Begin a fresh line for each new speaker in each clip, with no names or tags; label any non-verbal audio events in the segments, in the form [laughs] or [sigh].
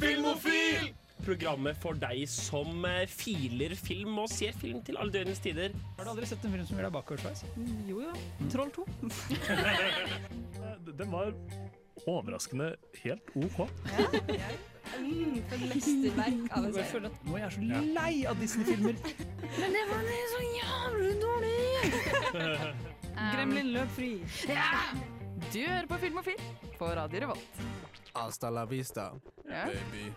Filmofil!
Programmet for deg som eh, filer film og ser film til alle døgnets tider.
Har du aldri sett en film som gjør deg bakoversveis?
Jo jo. Troll 2.
Den var overraskende helt OK.
Mm, for et mesterverk av en
Jeg
serie.
føler at nå er jeg så lei av Disney-filmer.
Men det var så jævlig dårlig!
Gremlin løp fri.
Du hører på Filmofil på Radio Revolt.
Hasta la vista,
Ja.
baby.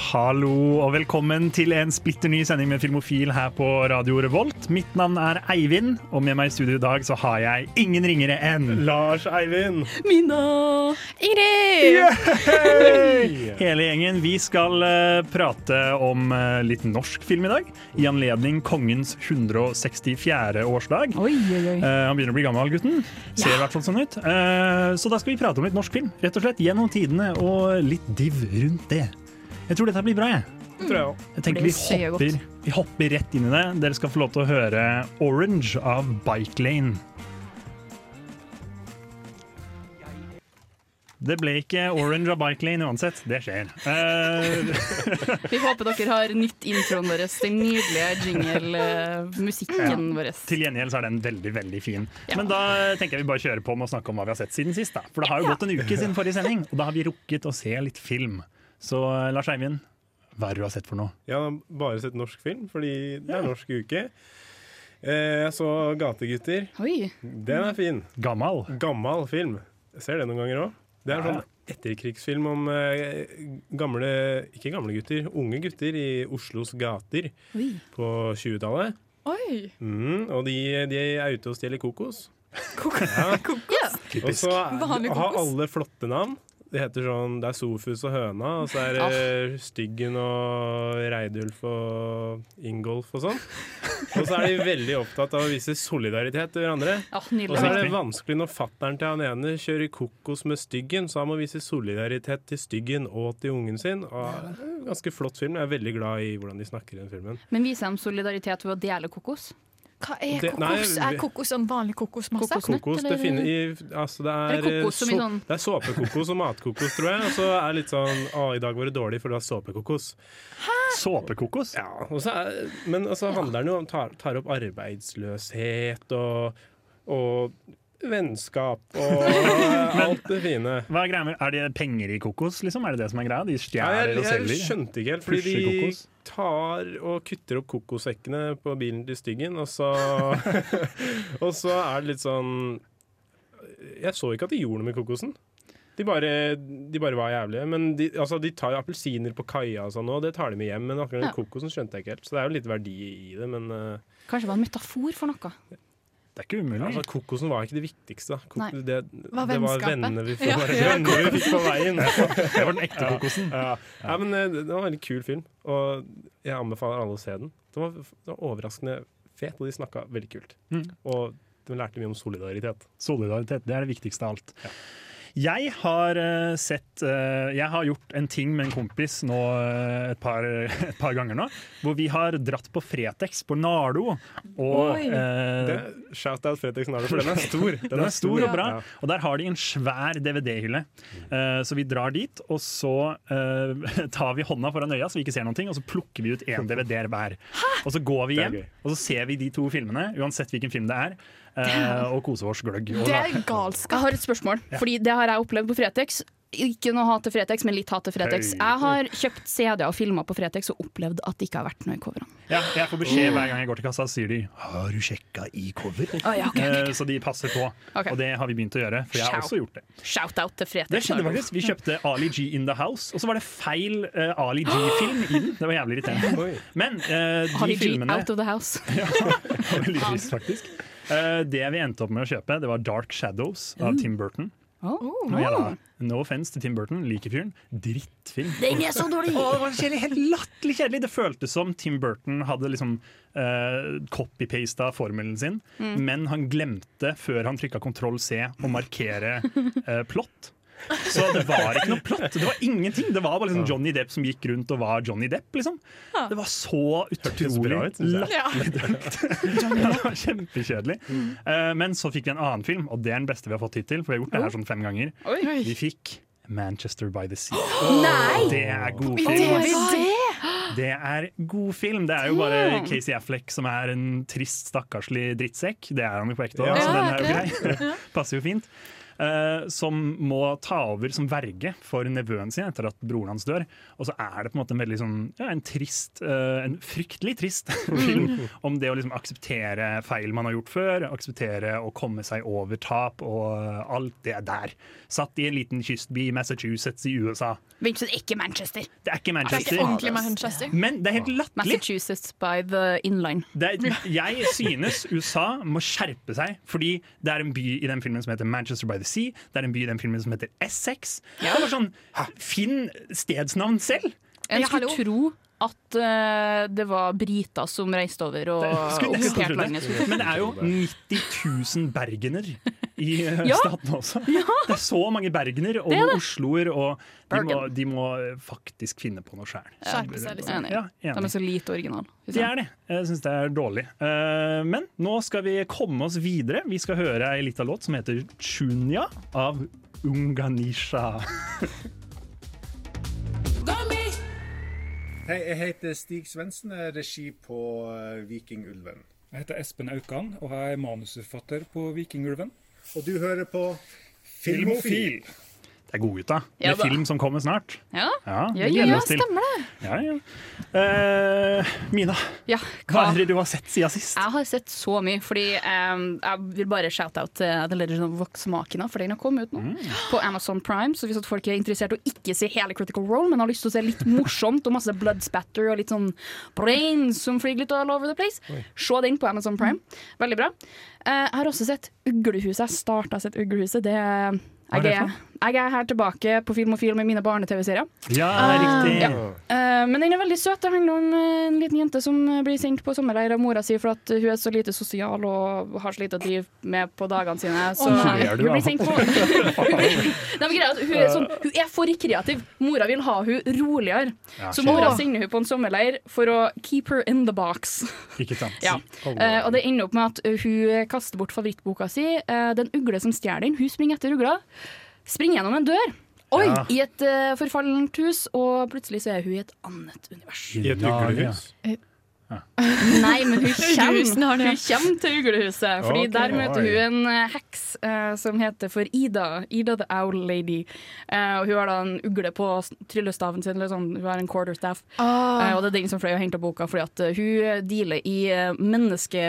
Hallo og velkommen til en splitter ny sending med Filmofil her på Radio Revolt. Mitt navn er Eivind, og med meg i studio i dag så har jeg ingen ringere enn
Lars Eivind.
Mina!
Ingrid!
hele gjengen. Vi skal eh, prate om eh, litt norsk film i dag, i anledning kongens 164. årsdag.
Oi, oi, oi.
Eh, han begynner å bli gammel, gutten. Ser i hvert fall sånn ut. Eh, så da skal vi prate om litt norsk film, rett og slett gjennom tidene, og litt div rundt det. Jeg tror dette blir bra, jeg.
Mm.
Tror jeg også.
Jeg tenker
Det
vi
ser jeg
hopper, vi hopper rett inn i det. Dere skal få lov til å høre 'Orange' av Bike Lane. Det ble ikke 'Orange' av Bike Lane uansett. Det skjer. Eh,
Vi håper dere har nytt introen vår, den nydelige jingle-musikken vår.
til gjengjeld så er den veldig veldig fin. Men da eh, tenker jeg vi bare kjører på med å snakke om hva vi har sett siden sist. da. For det har jo gått en uke siden forrige sending, og da har vi rukket å se litt film. Så eh, Lars Eivind, hva er det du har sett for noe?
Jeg har bare sett norsk film, fordi det er norsk uke. Eh, Jeg så 'Gategutter'.
Oi,
Den er fin.
Gammal?
Gammel film. Jeg ser det noen ganger òg. Det er sånn etterkrigsfilm om eh, gamle Ikke gamle gutter, unge gutter i Oslos gater
oi.
på 20-tallet.
Oi.
Mm, og de, de er ute og stjeler kokos. Og
Typisk.
så
Vanlig
er- har
kokos.
alle flotte navn. Det heter sånn, det er Sofus og høna, og så er det Styggen og Reidulf og Ingolf og sånn. Og så er de veldig opptatt av å vise solidaritet til hverandre.
Ja,
Og så
nydelig.
er det
Riktig.
vanskelig når fatteren til han ene kjører kokos med Styggen, så han må vise solidaritet til Styggen og til ungen sin. Og det er en ganske flott film. Jeg er veldig glad i hvordan de snakker i den filmen.
Men viser dem solidaritet ved å dele kokos?
Hva er
Det-
kokos?
nei,
er kokos en vanlig kokosmasse?
Kokosene?
Kokos, det
eller?
finner i, altså det er,
Er det kokos som i
så-
sånn-
det er såpekokos og matkokos, tror jeg. Og så er det litt sånn Å, i dag var det dårlig, for det var såpekokos.
Såpekokos?
Ja, og så er, men altså handler den jo om tar, tar opp arbeidsløshet og, og vennskap og alt det fine.
Hva er greia med, Er det penger i kokos, liksom? Er det det som er greia? De
Ja,
stjeler
jeg,
og
jeg
selger?
skjønte ikke helt, fordi
Pusher
de
kokos.
tar og kutter opp kokosekkene på bilen til Styggen, og så, [laughs] og så er det litt sånn Jeg så ikke at de gjorde noe med kokosen. De bare, de bare var jævlige. Men de, altså, de tar jo appelsiner på kaia og sånn, og det tar de med hjem. Men akkurat den kokosen skjønte jeg ikke helt, så det er jo litt verdi i det. Men eh,
Kanskje det var en metafor for noe?
Det er ikke umulig.
altså, kokosen var ikke det viktigste. da. Kok
Nei.
det,
Var
det var
vennskapet.
vennene vi, fikk- venner vi fikk på veien.
det var den ekte kokosen.
Ja. Nei, men eh, det det var en veldig kul film, og jeg anbefaler alle å se den. Den var, den var overraskende fet, og de snakka veldig kult.
Mm.
Og de lærte mye om solidaritet.
Solidaritet, det er det viktigste av alt. Jeg har eh, sett eh, Jeg har gjort en ting med en kompis nå eh, et par, [laughs] et par ganger nå. Hvor vi har dratt på Fretex på Nardo. Og
Oi.
eh,
Det- Shout-out Fretex Nardo, for den er stor.
Den er stor og bra,
Ja.
og der har de en svær DVD-hylle. Eh, så vi drar dit, og så eh, [laughs] tar vi hånda foran øya så vi ikke ser noen ting, og så plukker vi ut én DVD-er hver. Og så går vi
Det er
hjem,
gøy.
og så ser vi de to filmene, uansett hvilken film det er, eh, og koser oss gløgg. Og
Det
da,
er galskap.
Jeg har et spørsmål, fordi det har jeg opplevd på Fretex. Ikke noe hat til Fretex, men litt hat til Fretex.
Hei.
Jeg har kjøpt CD-er og filmer på Fretex og opplevd at det ikke har vært noe i coverne.
ja, jeg får beskjed hver gang jeg går til kassa, så sier de 'Har du sjekka i
[laughs]
cover?' Eh, så de passer på,
Ok.
og det har vi begynt å gjøre, for jeg har
Ciao.
også gjort det.
Shout-out til Fretex.
Det skjedde faktisk. Vi kjøpte Ali G in the house, og så var det feil eh,
[gasps]
Ali G-film i den. Det var jævlig irriterende.
Oi.
Men eh, de
Harry G,
filmene [laughs]
out of the house.
Det var Veldig trist, faktisk. Eh, det vi endte opp med å kjøpe, det var Dark Shadows av
Mm.
Tim Burton.
Oh.
Og jeg da, no offense til Tim Burton, liker fyren. Drittfilm. Den er så dårlig! det var kjedelig, helt latterlig kjedelig! Det føltes som Tim Burton hadde liksom uh, copy-pasta formelen sin, men han glemte, før han trykka kontroll C, å markere eh, plott. Så det var ikke noe plott. Det var ingenting. Det var bare liksom Johnny Depp som gikk rundt og var Johnny Depp. liksom. Det var så
Hørtes bra
utrolig
ut, synes jeg.
[laughs] det var kjempekjedelig. Oh. Eh, men så fikk vi en annen film, og det er den beste vi har fått hittil. For vi har gjort det her sånn fem ganger. Vi fikk Manchester by the [gasps] Sea.
Nei!
Det er god
I
film. ass.
DVD!
Det er god film. Det er jo bare Casey Affleck som er en trist, stakkarslig drittsekk. Det er han jo på ekte,
Ja.
så
Ja,
den
ikke
er jo grei. [laughs] Passer jo fint. Eh, som må ta over som verge for nevøen sin etter at broren hans dør. Og så er det på en måte en veldig sånn ja, en trist, eh, en fryktelig trist [laughs] film om det å liksom akseptere feil man har gjort før. Akseptere å komme seg over tap og eh, alt det er der. Satt i en liten kystby i Massachusetts i USA.
Vincent, ikke Manchester.
Det er ikke
Det er
Manchester.
ikke ordentlig Manchester.
Men det er helt latterlig!
Massachusetts by the inline.
Det er, jeg synes USA må skjerpe seg, fordi det er en by i den filmen som heter Manchester by the Sea. Det er en by i den filmen som heter Essex. Det er bare sånn, Finn stedsnavn selv!
En
Ja,
skulle
hallo.
tro at eh, det var briter som reiste over og
[laughs] Skulle nesten
okkuperte
trodd
landet.
det. Men det er jo 90 000 bergener
[laughs]
i eh,
Ja.
staten også. Det er så mange bergener og osloer, og de må, de må faktisk finne på noe sjæl.
Skjerpe seg, liksom.
Enig.
Ja,
De
enig.
er så lite originale.
Det er det. Jeg syns det er dårlig. Eh, men nå skal vi komme oss videre. Vi skal høre ei lita låt som heter 'Chunya' av Unganisha.
Hei, jeg heter Stig Svendsen, jeg er regi på eh, Vikingulven.
Jeg heter Espen Aukan og jeg er manusforfatter på Vikingulven.
Og du hører på Filmofil.
Det er godgutta.
Ja
Med
da.
film som kommer snart.
Ja,
Ja,
ja,
vi
ja,
gleder
Ja,
oss til.
stemmer det.
Ja, ja. Eh, Mina,
ja, hva? Ah.
hva er det du har sett siden sist?
Jeg har sett så mye, fordi ehm, jeg vil bare eh, shout-out til The Legend of Vox-makina, for den har kommet ut nå.
Mm.
På Amazon Prime, så hvis at folk er interessert og ikke ser hele Critical Role, men har lyst til å se litt morsomt og masse blood spatter og litt sånn brains som flyr litt all over the place, se den på Amazon Prime. Veldig bra. Eh, jeg har også sett Uglehuset. Jeg starta å sett Uglehuset. Det er
er det
jeg, er, jeg er her tilbake på Film og Film med mine barne-TV-serier.
Ja,
Ah.
det er riktig.
Eh, men den er veldig søt. Det handler om eh, en liten jente som eh, blir sendt på sommerleir av mora si for at eh, hun er så lite sosial og har så lite å drive med på dagene sine. Så
Å, nei.
hun blir sendt på [laughs] Nei, men greia er at hun, er sånn, hun er for kreativ. Mora vil ha hun roligere.
Ja,
Så
shit.
mora sender hun på en sommerleir for å keep her in the box.
Ikke sant.
Ja. Eh, og det ender opp med at eh, hun kaster bort favorittboka si. Eh, den ugle som stjeler den, hun springer etter ugla. Springer gjennom en dør. Oi!
Ja.
I et eh, forfallent hus, og plutselig så er hun i et annet univers.
I et uglehus.
Nei,
[laughs]
men hun
Uglehusen
kommer,
har det, ja.
hun kommer til uglehuset. Fordi
Ok,
der møter
oi.
hun en eh, heks eh, som heter for Ida. Ida the Owl Lady. Eh, og hun har da en ugle på s- tryllestaven sin. Eller sånn. Hun har en quarterstaff.
Ah.
Eh, og det er den som fløy og henta boka, fordi at eh, hun dealer i eh, menneske...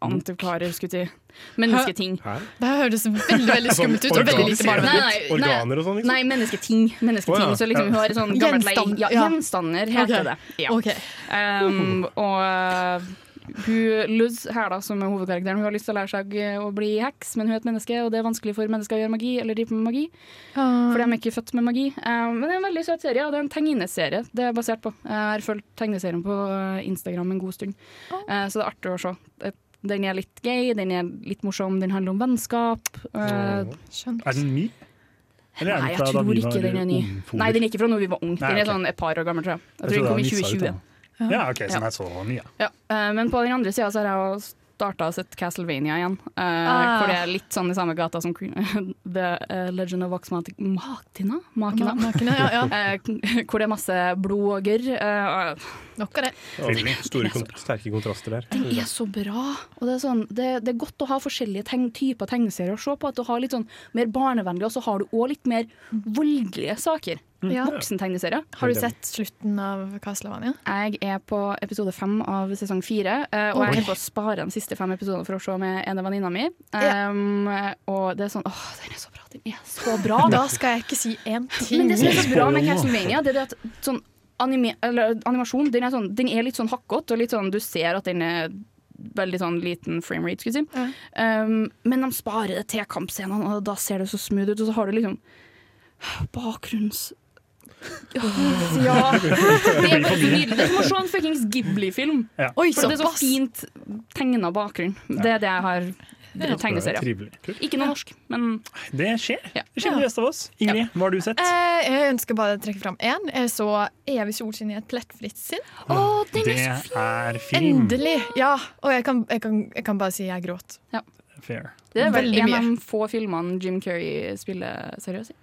Antikvarer, skulle jeg si. Mennesketing.
Det høres [laughs] veldig veldig skummelt ut,
Sånn
og veldig lite
organ-
barnevennlig.
Nei, nei,
Organer og sånn, liksom?
Nei, mennesketing. mennesketing.
Å, ja.
Så liksom hun har et
[laughs]
sånn gammelt
Gjenstand,
leie. Ja,
ja.
gjenstander heter
Ok.
det. Ja.
Ok.
Um, og uh, hun, Luz her da, som er hovedkarakteren, hun har lyst til å lære seg uh, å bli heks, men hun er et menneske, og det er vanskelig for mennesker å gjøre magi, eller drive med magi,
Ah,
for de er ikke født med magi. Um, men det er en veldig søt serie, og det er en tegneserie det er basert på. Jeg har fulgt tegneserien på uh, Instagram en god stund, uh, så det er artig å se. Uh, Den er litt gay, den er litt morsom, den handler om vennskap. Uh,
Skjønt.
Er den ny? Eller er
Nei,
den
jeg
fra da
tror
vi var
ikke den er ny.
ungfoler?
Nei, den er ikke fra når vi var unge.
Nei,
Den er
ok.
sånn et par år gammel, tror jeg. Jeg
Jeg
tror den
trodde
kom i
den nyssa ut
2020.
da. Ja, OK, så den er så ny, ja.
Ja, eh, men på den andre sida har jeg jo starta og sett Castlevania igjen. eh,
Ah.
Hvor det er litt sånn i samme gata som Queen- [laughs] The eh, Legend of Vox Matic- Matina? Makina?
Makene, ja, ja.
Eh, [laughs] hvor det er masse blod og gørr.
[laughs]
eh,
Nok av det.
Ja, altså, Store, kont sterke kontraster der.
Den er så bra! Og det, er sånn, det, det er godt å ha forskjellige tegn, typer tegneserier å se på. At du har litt sånn mer barnevennlig, og så har du òg litt mer voldelige saker.
Ja.
Mm. Voksentegneserier.
Har du sett slutten av Castlevania?
Jeg er på episode fem av sesong fire, eh, og
Oi.
jeg tenker å spare de siste fem episodene for å se med en av venninna mi. Um, og det er sånn Åh, den er så bra! Den er så bra!
Da skal jeg ikke si én ting.
Men det som er så
Spoiler
bra med
nå.
Castlevania, det er det at sånn anime, eller, animasjon den er, sånn, den er litt sånn hakkete, og litt sånn, du ser at den er veldig sånn liten frame rate, skulle jeg si. Um, men de sparer det til kampscenene, og da ser det så smooth ut, og så har du liksom bakgrunns...
[laughs]
Ja, det er bare så nydelig. Det er som å se en fuckings Ghibli-film.
Oi,
For det er så
såpass!
fint tegna bakgrunn. Det er det jeg har tegneserier.
Trivelig.
Ikke noe norsk, men
Det skjer.
Ja.
Det skjer med de fleste av oss. Ingrid, hva har du sett?
Eh, Jeg ønsker bare å trekke fram én. Jeg så 'Evig solskinn i et plettfritt sinn'. Å, den
Det
er så fin!
er film.
Endelig! Ja. Og jeg kan, jeg, kan, jeg kan bare si jeg gråt.
Fair.
Det er vel
Veldig
en
mye.
av de få filmene Jim Curry spiller seriøst i.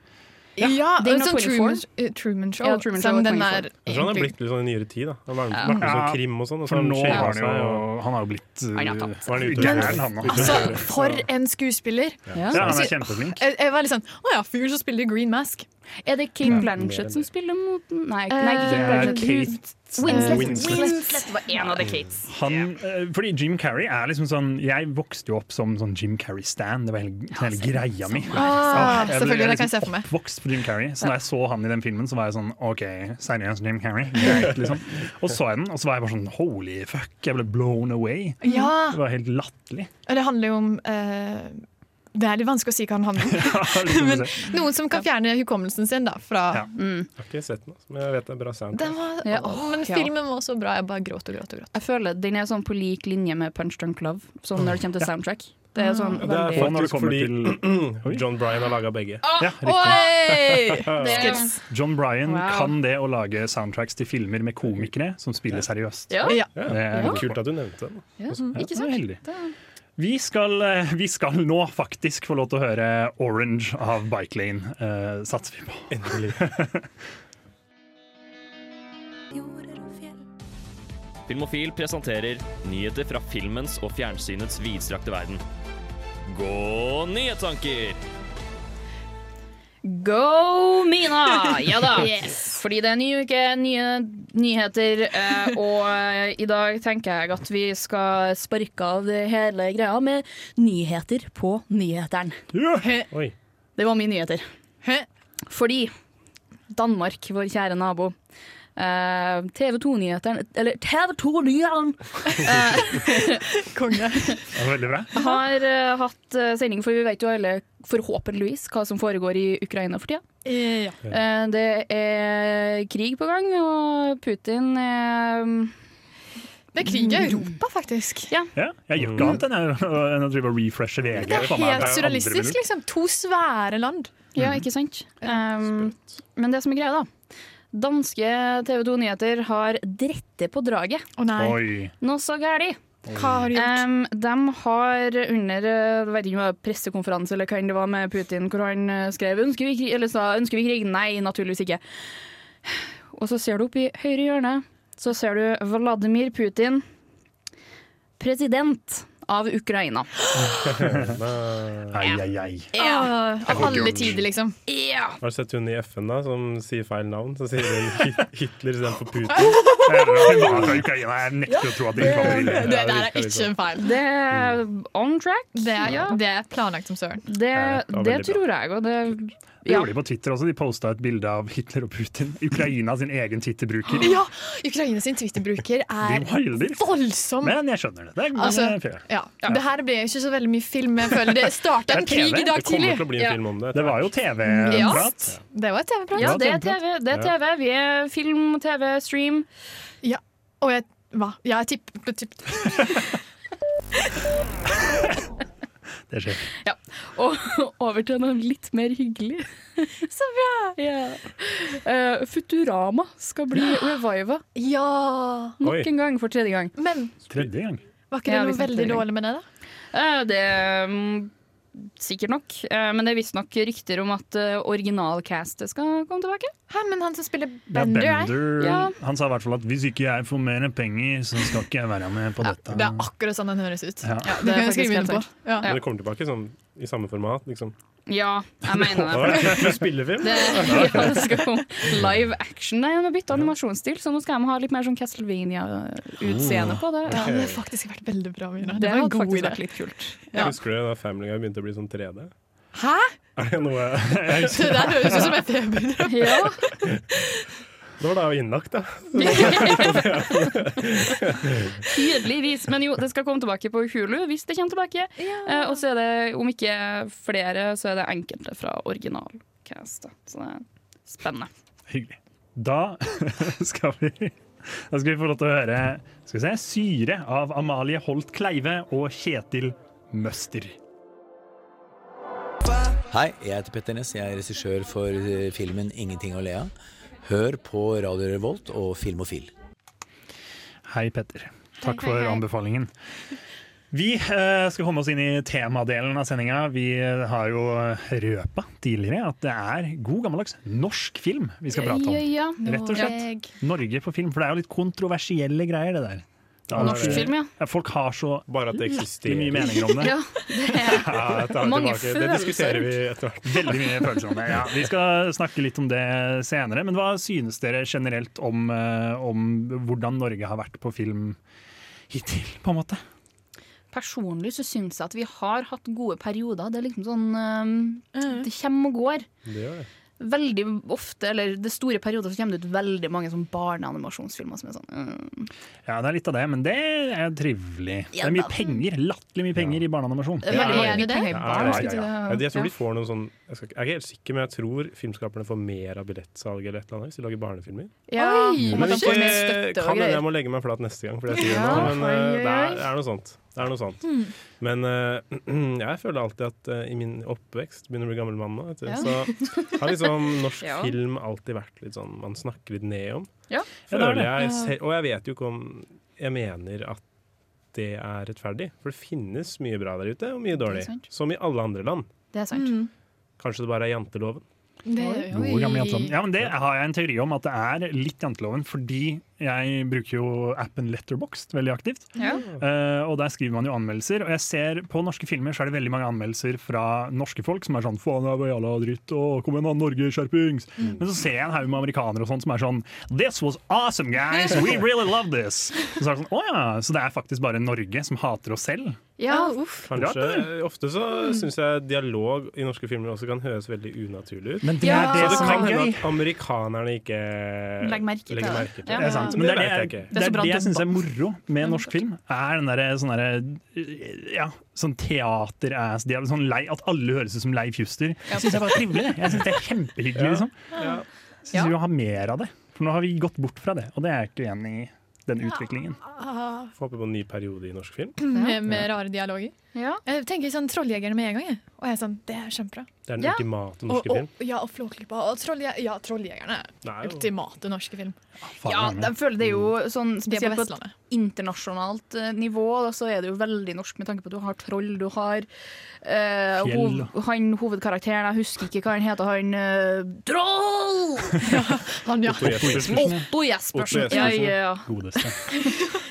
Ja, det
den
er
og
sånn
24.
Truman, eh, Truman Show.
Ja, Truman Show
som
og
den
24.
er
Jeg tror han er
egentlig-
blitt litt sånn i nyere tid. da Han har vært
Ja.
vært med
Ja,
sånn krim og sånn. og så
For nå
skjevet
har han
seg,
jo
og-
Han har jo blitt uh,
Han har tatt
var han
seg.
gæren, han nå? [laughs]
Altså, for en skuespiller!
Ja.
Ja, han er kjempeflink.
Jeg, jeg var litt sånn Å ja, fyren som spiller i Green Mask.
Er det Kate Blanchett som spiller mot Nei, ikke- nei
Det
ikke
er
Blanchett.
Eh, Kate
Winslet.
Winslet.
Winslet var en av The Kates.
Han, eh, fordi Jim Carrey er liksom sånn Jeg vokste jo opp som sånn Jim Carrey-stan. Det var hele, hele greia mi.
Ah,
Jeg ble-
selvfølgelig,
jeg
det kan jeg
liksom
se for meg.
Oppvokst på Jim Carrey. Så da jeg så han i den filmen, så var jeg sånn OK, seriøst, Jim Carrey? Greit, liksom. [laughs] Og så jeg den, og så var jeg bare sånn holy fuck, jeg ble blown away.
Ja,
Det var helt latterlig.
Det handler jo om eh, Det er litt vanskelig å si hva han handler om. [laughs]
liksom,
Men noen som kan fjerne hukommelsen sin, da. Fra
Ja.
Jeg har ikke sett den, altså, men jeg vet det er bra sound.
den var,
Ja,
å, men
ja.
filmen var så bra. Jeg bare gråt og gråt og gråt.
Jeg føler Den er sånn på lik linje med Punch Drunk Love, sånn når det kommer til soundtrack. Det er sånn
Det er
veldig
Og når
faktisk
det kommer
fordi
Oi.
[clears throat] John Bryan har laga begge.
Ja, riktig.
Oi!
[laughs]
Skills.
John Bryan
Wow.
kan det å lage soundtracks til filmer med komikere som spiller seriøst.
Ja,
Ja.
Det er
Ja.
godt
Kult at du nevnte den.
ja,
Ja,
ikke
det var
sant?
heldig. Vi skal, eh, vi skal nå faktisk få lov til å høre 'Orange' av Bike Lane, eh, satser vi på.
Endelig.
Filmofil presenterer nyheter fra filmens og fjernsynets vidstrakte verden. Gå nyhetstanker!
Go Mina! Ja da! Fordi det er ny uke, nye nyheter, eh, og eh, i dag tenker jeg at vi skal sparke av det hele greia med nyheter på nyheteren.
Oi.
Det var mine nyheter.
Hæ?
Fordi Danmark, vår kjære nabo eh, TV 2-nyheteren Eller TV 2-nyheteren
Konge.
Det var veldig bra.
[laughs] har eh, hatt eh, sending, for vi vet jo alle forhåpentligvis hva som foregår i Ukraina for tida.
Eh, ja.
Eh, det er krig på gang, og Putin er
Det er krig i Europa, faktisk.
Ja, jeg gjør ikke annet enn å- enn å drive og refreshe VG.
Mm. Det er
Faen meg,
helt
andre
surrealistisk,
minutt.
liksom. To svære land.
Ja, ikke sant? Um, men det som er greia, da. Danske TV 2 Nyheter har drette på draget.
Å nei,
Oi.
Noe så gæli.
hva har de gjort?
Um, de har under eh, jeg vet ikke om det var pressekonferanse eller hva enn det var med Putin, hvor han eh, skrev ønsker vi, krig, eller sa, ønsker vi krig? Nei, naturligvis ikke. Og så ser du opp i høyre hjørne, så ser du Vladimir Putin, president av Ukraina.
Ai, ai, ai.
Ah, av alle tider, liksom.
Ja!
Har du sett hun i FN da, som sier feil navn? Så sier
[laughs]
hun Hi- Hitler istedenfor Putin.
Jeg var fra Ukraina, jeg nekter å tro at det liksom- ikke var mulig.
Det der er ikke en feil.
Det er on track.
Det er,
ja.
det er planlagt som søren.
Det,
det var
det
veldig bra.
tror jeg, og det
Det gjorde de på Twitter også. De posta et bilde av Hitler og Putin. Ukraina sin egen Twitter-bruker.
Ja, Ukraina sin Twitter-bruker
De
er
wilder.
voldsom.
Men jeg skjønner det. Det er, det
Altså,
er fair.
ja. Det her ble jo ikke så veldig mye film. men Jeg føler det starta en
Det er TV.
krig i dag
Det kommer
tidlig.
til å bli en
Ja.
film om det.
Det var jo
Mm,
TV-prat.
Det var et TV-prat.
Ja,
Ja,
det er
TV.
TV. Det er
Ja.
TV. Vi er film, TV, stream.
Og jeg hva? Ja, jeg tipper tipp,
Det skjer.
Og [laughs] over til noe litt mer hyggelig. [laughs] Så bra! Eh, Futurama skal [gasps] bli reviva
Ja
nok
Oi.
en gang for tredje gang.
Men
Tredje gang.
var ikke det
Ja, vi
noe
snakker
veldig
om-
dårlig med det, da?
Eh, det er mm, sikkert nok, eh, men det er visstnok rykter om at eh, originalcastet skal komme tilbake.
Hæ, men han som spiller
Ja,
Bender, er
Bender,
Ja.
Han sa i hvert fall at hvis ikke jeg får mer penger, så skal ikke jeg være med på dette. [laughs]
Det er akkurat sånn han høres ut.
Ja.
det kan jeg
faktisk
skrive
helt
under på.
sant.
Ja.
Men det kommer tilbake sånn, i samme format, liksom.
Ja, jeg mener det.
Du spiller film?
Det, [laughs] ja, det skal komme live action. Nei, de har bytta animasjonsstil, så nå skal de ha litt mer sånn Castlevania-utseende på det.
Ja, det hadde faktisk vært veldig bra, Mina.
Det
Det var en
hadde
god
faktisk
idé.
vært litt
[laughs]
kult.
Ja.
Husker du da Family Guy begynte å bli sånn 3D?
Hæ?
Er det noe
[laughs] Det der høres ut som et
[laughs]
feber.
Ja.
[laughs]
Det var da jeg var innlagt, da.
Tydeligvis. Men jo, det skal komme tilbake på Hulu hvis det kommer tilbake. Eh, og så er det, om ikke flere, så er det enkelte fra originalcastet. Så det er spennende.
Hyggelig. Da [laughs] skal vi Da skal vi få lov til å høre skal vi se, 'Syre' av Amalie Holt Kleive og Kjetil Møster.
Hei, jeg heter Petter Ness. Jeg er regissør for eh, filmen 'Ingenting å le av'. Hør på Radio Revolt og Filmofil.
Hei, Petter. Takk
Hei, hei,
for
hei.
anbefalingen. Vi eh, skal komme oss inn i temadelen av sendinga. Vi eh, har jo røpa tidligere at det er god gammeldags norsk film vi skal prate om.
Ja,
Rett og slett.
Jeg-
Norge på film, for det er jo litt kontroversielle greier, det der. Det
ja.
er-
Norsk film, ja.
Ja, Folk har så
Bare at det eksisterer.
mye meninger om det.
[laughs] ja. Det er
Ja, jeg tar det
Mange
tilbake. Det diskuterer vi etter hvert.
Veldig mye følelser om det. Ja. Vi skal snakke litt om det senere. Men hva synes dere generelt om, eh, om hvordan Norge har vært på film hittil, på en måte?
Personlig så syns jeg at vi har hatt gode perioder. Det er liksom sånn ehm, Det kommer og går.
Det gjør det.
Veldig ofte, eller det store perioder, så kommer det ut veldig mange sånn barneanimasjonsfilmer som er sånn mm.
Ja, det er litt av det, men det er trivelig. Det er mye penger, latterlig mye penger i barneanimasjon.
Det er veldig
Er det
mye
det?
penger i barn.
Ja,
ja, ja.
skulle
Jeg,
det-
jeg tror
ja.
de får noen sånn jeg, skal, ikke- jeg er ikke helt sikker, men jeg tror filmskaperne får mer av billettsalget eller et eller annet hvis de lager barnefilmer.
Ja,
Oi,
om
Men
at de
ikke,
får mer støtte
kan
og
hende
greier.
jeg må legge meg flat neste gang, for det jeg sier
Ja,
nå, men eh,
oi, oi, oi.
det,
Hmm.
er, det er noe sånt. Det er noe sånt. Men eh, [clears throat] jeg føler alltid at eh, i min oppvekst, begynner å bli gammel mann nå, vet du,
Ja.
så har liksom norsk
[laughs] Ja.
film alltid vært litt sånn man snakker litt ned om.
Ja.
Ja, det er
Føler
det.
jeg selv, og jeg vet jo ikke om jeg mener at det er rettferdig, for det finnes mye bra der ute, og mye dårlig.
sant.
Som i alle andre land.
Det er
Mm.
sant.
Kanskje det bare er janteloven.
Det-
God gammel janteloven. Ja, men Det har jeg en teori om, at det er litt janteloven. Fordi jeg bruker jo appen Letterboxd veldig aktivt.
Ja.
Eh, og der skriver man jo anmeldelser. Og jeg ser på norske filmer så er det veldig mange anmeldelser fra norske folk som er sånn faen, det var jævla dritt, å, kom igjen da, Norge, skjerpings.
Mm.
Men så ser jeg en haug med amerikanere og sånn som er sånn This was awesome, guys! We really love this! Og så er det sånn, å ja, Så det er faktisk bare Norge som hater oss selv?
Ja,
Kanskje, Ofte så
Mm.
syns jeg dialog i norske filmer også kan høres veldig unaturlig ut.
Men det
Ja.
er
Så
det,
det
som
kan
er
hende
gøy.
at amerikanerne ikke
Legg merke til
legger
det.
merke til
Ja.
det.
Det er sant.
Men
Men det
det
er
vet
det
jeg
jeg,
ikke.
det
Det er så
er
bra
det jeg syns er
debatt. Mm.
moro med norsk film. Er den derre sånn derre Ja, sånn teater-ass. De er sånn lei, at alle høres ut som Leif Juster. Jeg syns det var trivelig. det. Jeg syns det er kjempehyggelig,
Ja.
liksom.
Ja.
Syns vi må ha mer av det. For nå har vi gått bort fra det, og det er jeg ikke enig i. Den utviklingen.
Ah,
Får håpe på en ny periode i norsk film.
Med, med rare dialoger.
Ja.
Jeg tenker sånn Trolljegerne med en gang. Jeg. Og jeg er sånn, Det er kjempebra.
Det er den
Ja.
ultimate
Og,
norske
og,
film.
ja, og Flåklypa. Og trollje, ja, Trolljegerne.
Oh.
Det er jo-
Ultimate norske film.
ja,
Faen, jeg er med.
jeg føler det er jo sånn
Det er
spesielt
på
på et
Vestlandet.
internasjonalt eh, nivå, da, så er det jo veldig norsk med tanke på at du har troll, du har eh,
Fjell.
hov, Han hovedkarakteren, jeg husker ikke hva han heter, han eh, Troll!
Han, ja.
Otto Jespersen.
Otto Jespersen.
Otto Jespersen.
Ja, ja, ja. [laughs]
Godeste.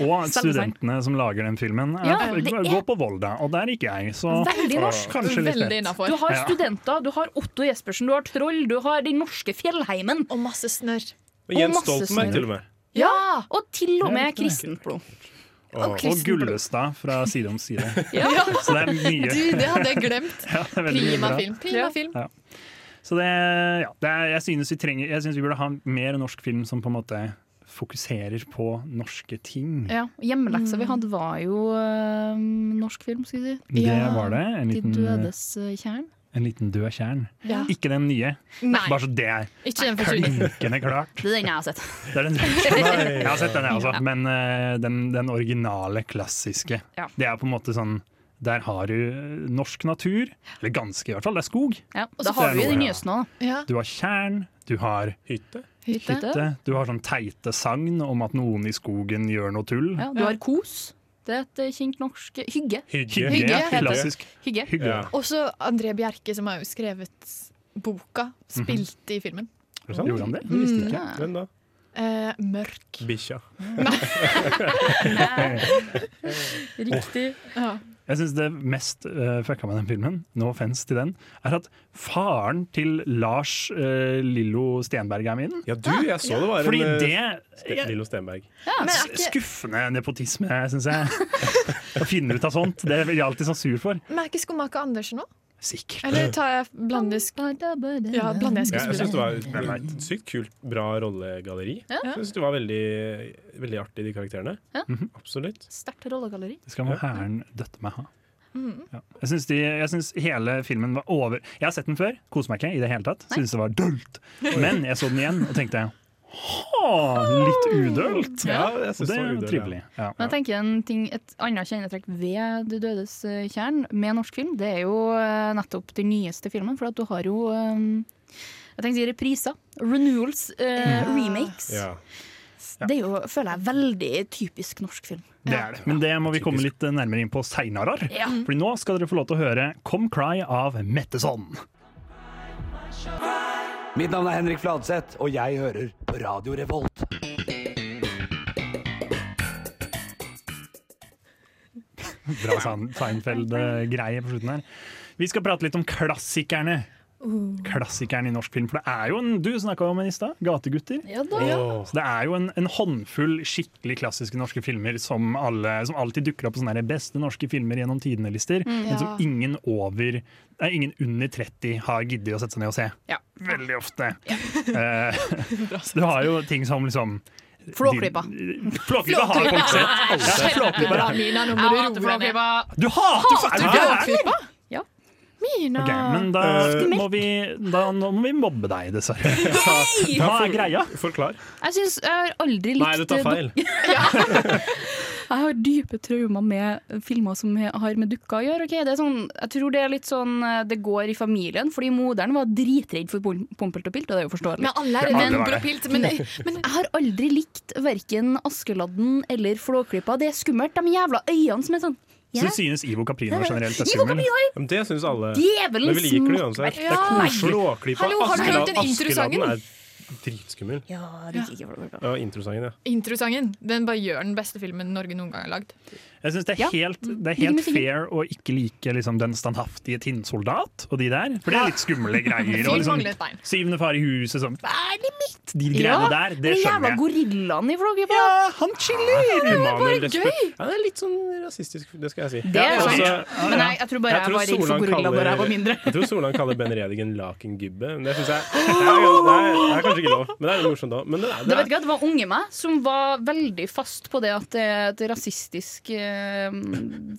Og studentene som lager den filmen, er,
Ja, det er-
går på Volda, og der gikk jeg, så
Veldig norsk.
kanskje litt
Veldig
fett.
Du
innafor.
har
Ja.
studenter, du har Otto Jespersen, du har troll, du har den norske fjellheimen.
Og masse snørr.
Og Jens
Og masse
Stoltenberg,
snørr.
til og med.
Ja! Og til og
Det er
med
litt
kristenblod.
Og
Og Gullestad fra Side om side.
[laughs] Ja.
Så det er mye.
Du, det hadde jeg glemt.
Ja, det er veldig mye
Prima
bra.
film. Prima
Ja.
film.
Så det, ja, det er, jeg, synes vi trenger, jeg synes vi burde ha mer norsk film som på en måte fokuserer på norske ting.
Ja. Hjemmeleksa vi hadde var jo eh, norsk film, skal vi si.
Det
Ja,
var det. En
De
liten,
dødes eh, kjern.
en liten død kjern.
Ja.
Ikke den nye,
Nei,
bare så det er
ikke den første.
klinkende klart.
Det er den jeg har sett.
[laughs]
Det er den, jeg har sett den, jeg også. Men eh, den, den originale, klassiske.
Ja.
Det er på en måte sånn Der har du eh, norsk natur, eller ganske i hvert fall. Det er skog.
[laughs] Ja,
Og
da
så
har
får
vi jo
jeg
de
noe, ja.
nyeste nå. da.
Ja.
Du har tjern, du har
Hytte.
Hytte.
hytte, du har sånn teite sagn om at noen i skogen gjør noe tull.
Ja, du har kos. Det er et eh, kjent norsk hygge.
Hygge.
Hygge.
Hygge,
ja.
heter det.
Klassisk
Hygge.
hygge.
Ja.
Og så André Bjerke, som har jo skrevet boka,
Mhm.
spilte i filmen.
Er det sant?
Gjorde han det?
Det visste
Mm.
jeg ikke. Hvem da?
Eh, mørk.
Bikkja.
Riktig.
Ja.
Jeg syns det mest eh, fucka med den filmen, no offense til den, er at faren til Lars eh, Lillo Stenberg er med i den.
Ja, du, jeg så det var
Fordi
en
det
eh, Ste-
er
Lillo Stenberg.
Men er ikke,
Altså, skuffende nepotisme, syns jeg. [laughs] Å finne ut av sånt. Det blir jeg alltid så sur for.
men er ikke Skomaker Andersen nå?
Sikkert.
Eller tar jeg blander sk ja, blander jeg
Ja, jeg syns
skuespillere?
det var et sykt kult, bra rollegalleri. Jeg syns det var veldig, veldig artig, de karakterene.
Ja.
Absolutt.
Sterkt rollegalleri.
Det skal hæren døtte meg ha.
Mm.
Ja. Jeg syns de- jeg syns hele filmen var over Jeg har sett den før, koser meg ikke i det hele tatt. Syns det var dølt. Men jeg så den igjen og tenkte ha, litt udølt.
Ja, jeg
Og
synes
det
var
er jo
udølt, ja.
trivelig. Ja.
Men jeg tenker en ting, Et annet kjennetrekk ved Du dødes eh, kjern med norsk film, det er jo eh, nettopp den nyeste filmen. For at du har jo ehm, eh, jeg tenkte å si repriser. Renewals. eh, Remakes.
Ja.
Mm. Ja.
Det er jo, føler jeg, veldig typisk norsk film.
Det er det. Men det må vi komme litt eh, nærmere inn på seinere.
Ja.
Fordi nå skal dere få lov til å høre 'Come Cry' av Metteson.
Mitt navn er Henrik Fladseth, og jeg hører på Radio Revolt.
Bra Sein- sånn Seinfeld-greie på slutten her. Vi skal prate litt om klassikerne.
Uh.
Klassikeren i norsk film. For det er jo en, du snakka om en i stad, 'Gategutter'.
Ja da. Ja.
Så det er jo en, en håndfull skikkelig klassiske norske filmer som, alle, som alltid dukker opp på sånne her beste norske filmer gjennom tidene-lister,
Mm.
men
Ja.
som ingen over Nei, ingen under 30 har giddet å sette seg ned og se.
Ja.
Veldig ofte. [laughs]
[laughs]
Eh, du har jo ting som liksom
Flåklypa.
Flåklypa har folk sett. Alle har Flåklypa.
Jeg hater flåklypa.
Du hater fa- er du gæren?
Ja. Mina.
Ok,
Ah.
men da
Eh,
må, vi, da nå må vi mobbe deg,
[laughs]
dessverre. Hva er greia?
Forklar.
Jeg, synes, jeg har aldri likt
Nei, du tar feil.
duk- jeg har dype traumer med eh, filmer som he- har med dukker å gjøre. ok? Det er sånn, jeg tror det er litt sånn eh, det går i familien, fordi moderen var dritredd for pom- pompelt og pilt, og det er jo forståelig.
Men alle er Ja, alle redde var for det. pilt, men-
men jeg har aldri likt verken Askeladden eller Flåklypa. Det er skummelt. De jævla øynene som er sånn
Så synes Ivo Caprino generelt er
Ivo
skummel?
Caprino er-
Men det syns alle.
Djevelens
Men vi liker det uansett.
smakkverk.
Det er
Ja.
koselig å klippe.
Hallo, har du hørt
Askeladden-
den introsangen?
Askeladden er dritskummel.
Ja,
ja introsangen, ja.
Introsangen. Den bare gjør den beste filmen Norge noen gang har lagd.
Jeg synes det er
Ja.
helt, det er
Like
helt
med Sigurd.
fair å ikke like liksom, Den standhaftige tinnsoldat og de der, for det er litt skumle
[laughs]
greier.
sånn-
Fyr
Og liksom,
mangler et bein.
syvende far i huset sånn Hva er det mitt? De
Ja,
greiene der, det
den jævla
skjønner jeg.
gorillaen i Flåklypa.
Ja, han chiller!
Det er
Emanuel
bare
Desper-
gøy!
Ja, det er litt sånn rasistisk, det skal jeg si.
Det er
Ja,
sant.
altså-
Men jeg- jeg tror bare jeg var redd for
Solan
gorilla når jeg var mindre. [laughs]
jeg tror Solan kaller Ben Redigen lakengubbe. Men det synes jeg det er, det, er, det er kanskje ikke lov, men det er litt morsomt òg. Men det er,
Det,
det
vet
er,
ikke, det var unge meg som var veldig fast på det at det er et rasistisk eh,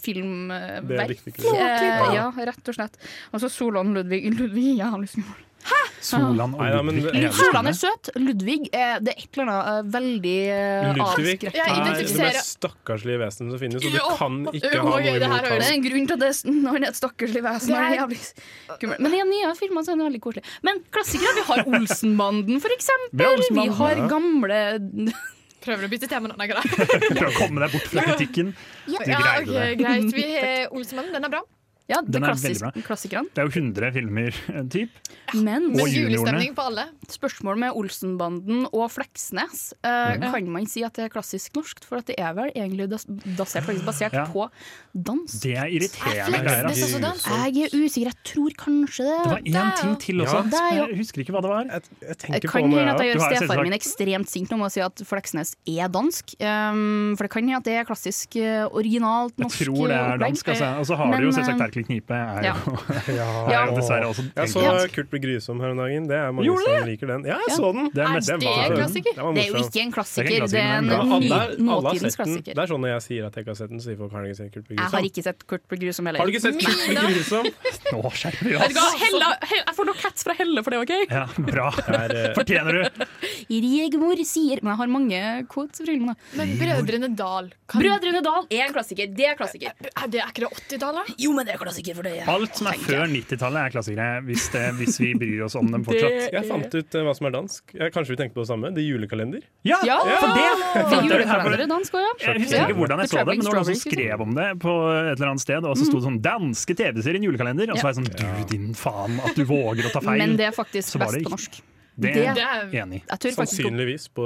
filmverk.
Det er viktig, ikke sant?
Eh, ja, rett og slett. Og så Solan Ludvig. Ludvig liksom- er jævlig skummel. Hæ?!
Solan og
Nei, nei, men-
Ludvig.
Lud-
er
Solan
skummel.
er søt. Ludvig er det er et eller annet eh, veldig eh,
Ludvig
avskrekkende.
er liksom det mest stakkarslige vesenet som finnes, og du kan ikke ha noe imot
det er
ham.
en grunn til at det er- sånn når det er et stakkarslig vesen.
Det
er det
er-
jævlig skummelt. Men i de nye filmene så er det veldig koselig. Men klassikere, vi har Olsenbanden, for
Vi har
eksempel. Vi
Olsenbanden,
har
ja.
gamle
Prøver å bytte tema nå, nei, greit.
Prøv å komme deg bort fra kritikken.
[laughs] Ja,
Du
ja,
greide
ok,
det.
greit. Vi, eh, Olsmannen, den er bra.
Ja,
Den er veldig bra.
klassikeren.
Det er jo 100 filmer, eh, typ.
Men,
Og juniorene.
på alle. Spørsmål med Olsenbanden og Fleksnes. Eh, Kan man si at det er klassisk norsk? For at det er vel egentlig das- basert, faktisk basert
Ja.
på dans.
Det er irriterende
Fleksnes
greier.
også
ass.
dans? Jeg altså, er usikker, jeg tror kanskje det.
Det var én ting til også.
Det er jo-
Jeg husker ikke hva det var.
Jeg kan hende at jeg gjør stefaren min ekstremt sint nå med å si at Fleksnes er dansk. Um, for det kan hende at det er klassisk, eh, originalt
Jeg
norsk eh,
tror det er
opplegg.
dansk, altså. Og så har
Men,
du jo
eh,
selvsagt Erkelig Knipe. Er
ja.
jo, [laughs]
Ja.
er jo dessverre også
Jeg så
tenkt.
Kurt blir grusom her om dagen. Det er mange
Gjorde
som liker den. Ja, jeg så den.
Det er mest- Er det
var-
en klassiker?
var
Det er jo
morsom.
ikke en klassiker,
ikke
det er en ny-
men alle- alle har
nåtidens
sett den.
klassiker.
Det er sånn når jeg sier at jeg ikke har sett den, så sier folk har du ikke sett Kurt blir
Jeg har
grusom.
ikke sett Kurt blir grusom heller.
Har du ikke sett Kurt blir grusom?
Nå skjerper vi
Vet du hva,
oss!
Hella, Hella, jeg får nok hets fra Helle for det, [laughs] OK?
Ja, bra. eh, Fortjener du.
Rigmor sier Men jeg har mange quotes fra filmen.
Men Brødrene Dal
Brødrene Dal er en klassiker. Det er klassiker.
Er det er ikke det 80-tallet?
Jo, men det er klassiker for det.
Alt som er før 90-tallet er klassikere, hvis, det, hvis vi bryr oss om dem fortsatt.
Jeg fant ut eh, hva som er dansk. Ja, kanskje vi tenker på det samme? Det er julekalender.
Ja,
Ja,
for det!
for julekalender er dansk også, ja.
Jeg husker ikke hvordan jeg så det, men det var noen som
Strawberries,
skrev om det på et eller annet sted,
Mm.
og så sto det sånn 'danske TV-serien julekalender', og så var jeg sånn 'du din faen, at du våger å ta feil'.
liksom. Men det er faktisk
Så var
best
det
på
ikke- Sånn
norsk.
Det
Det-
er jeg enig i.
Jeg tror faktisk-
Sannsynligvis på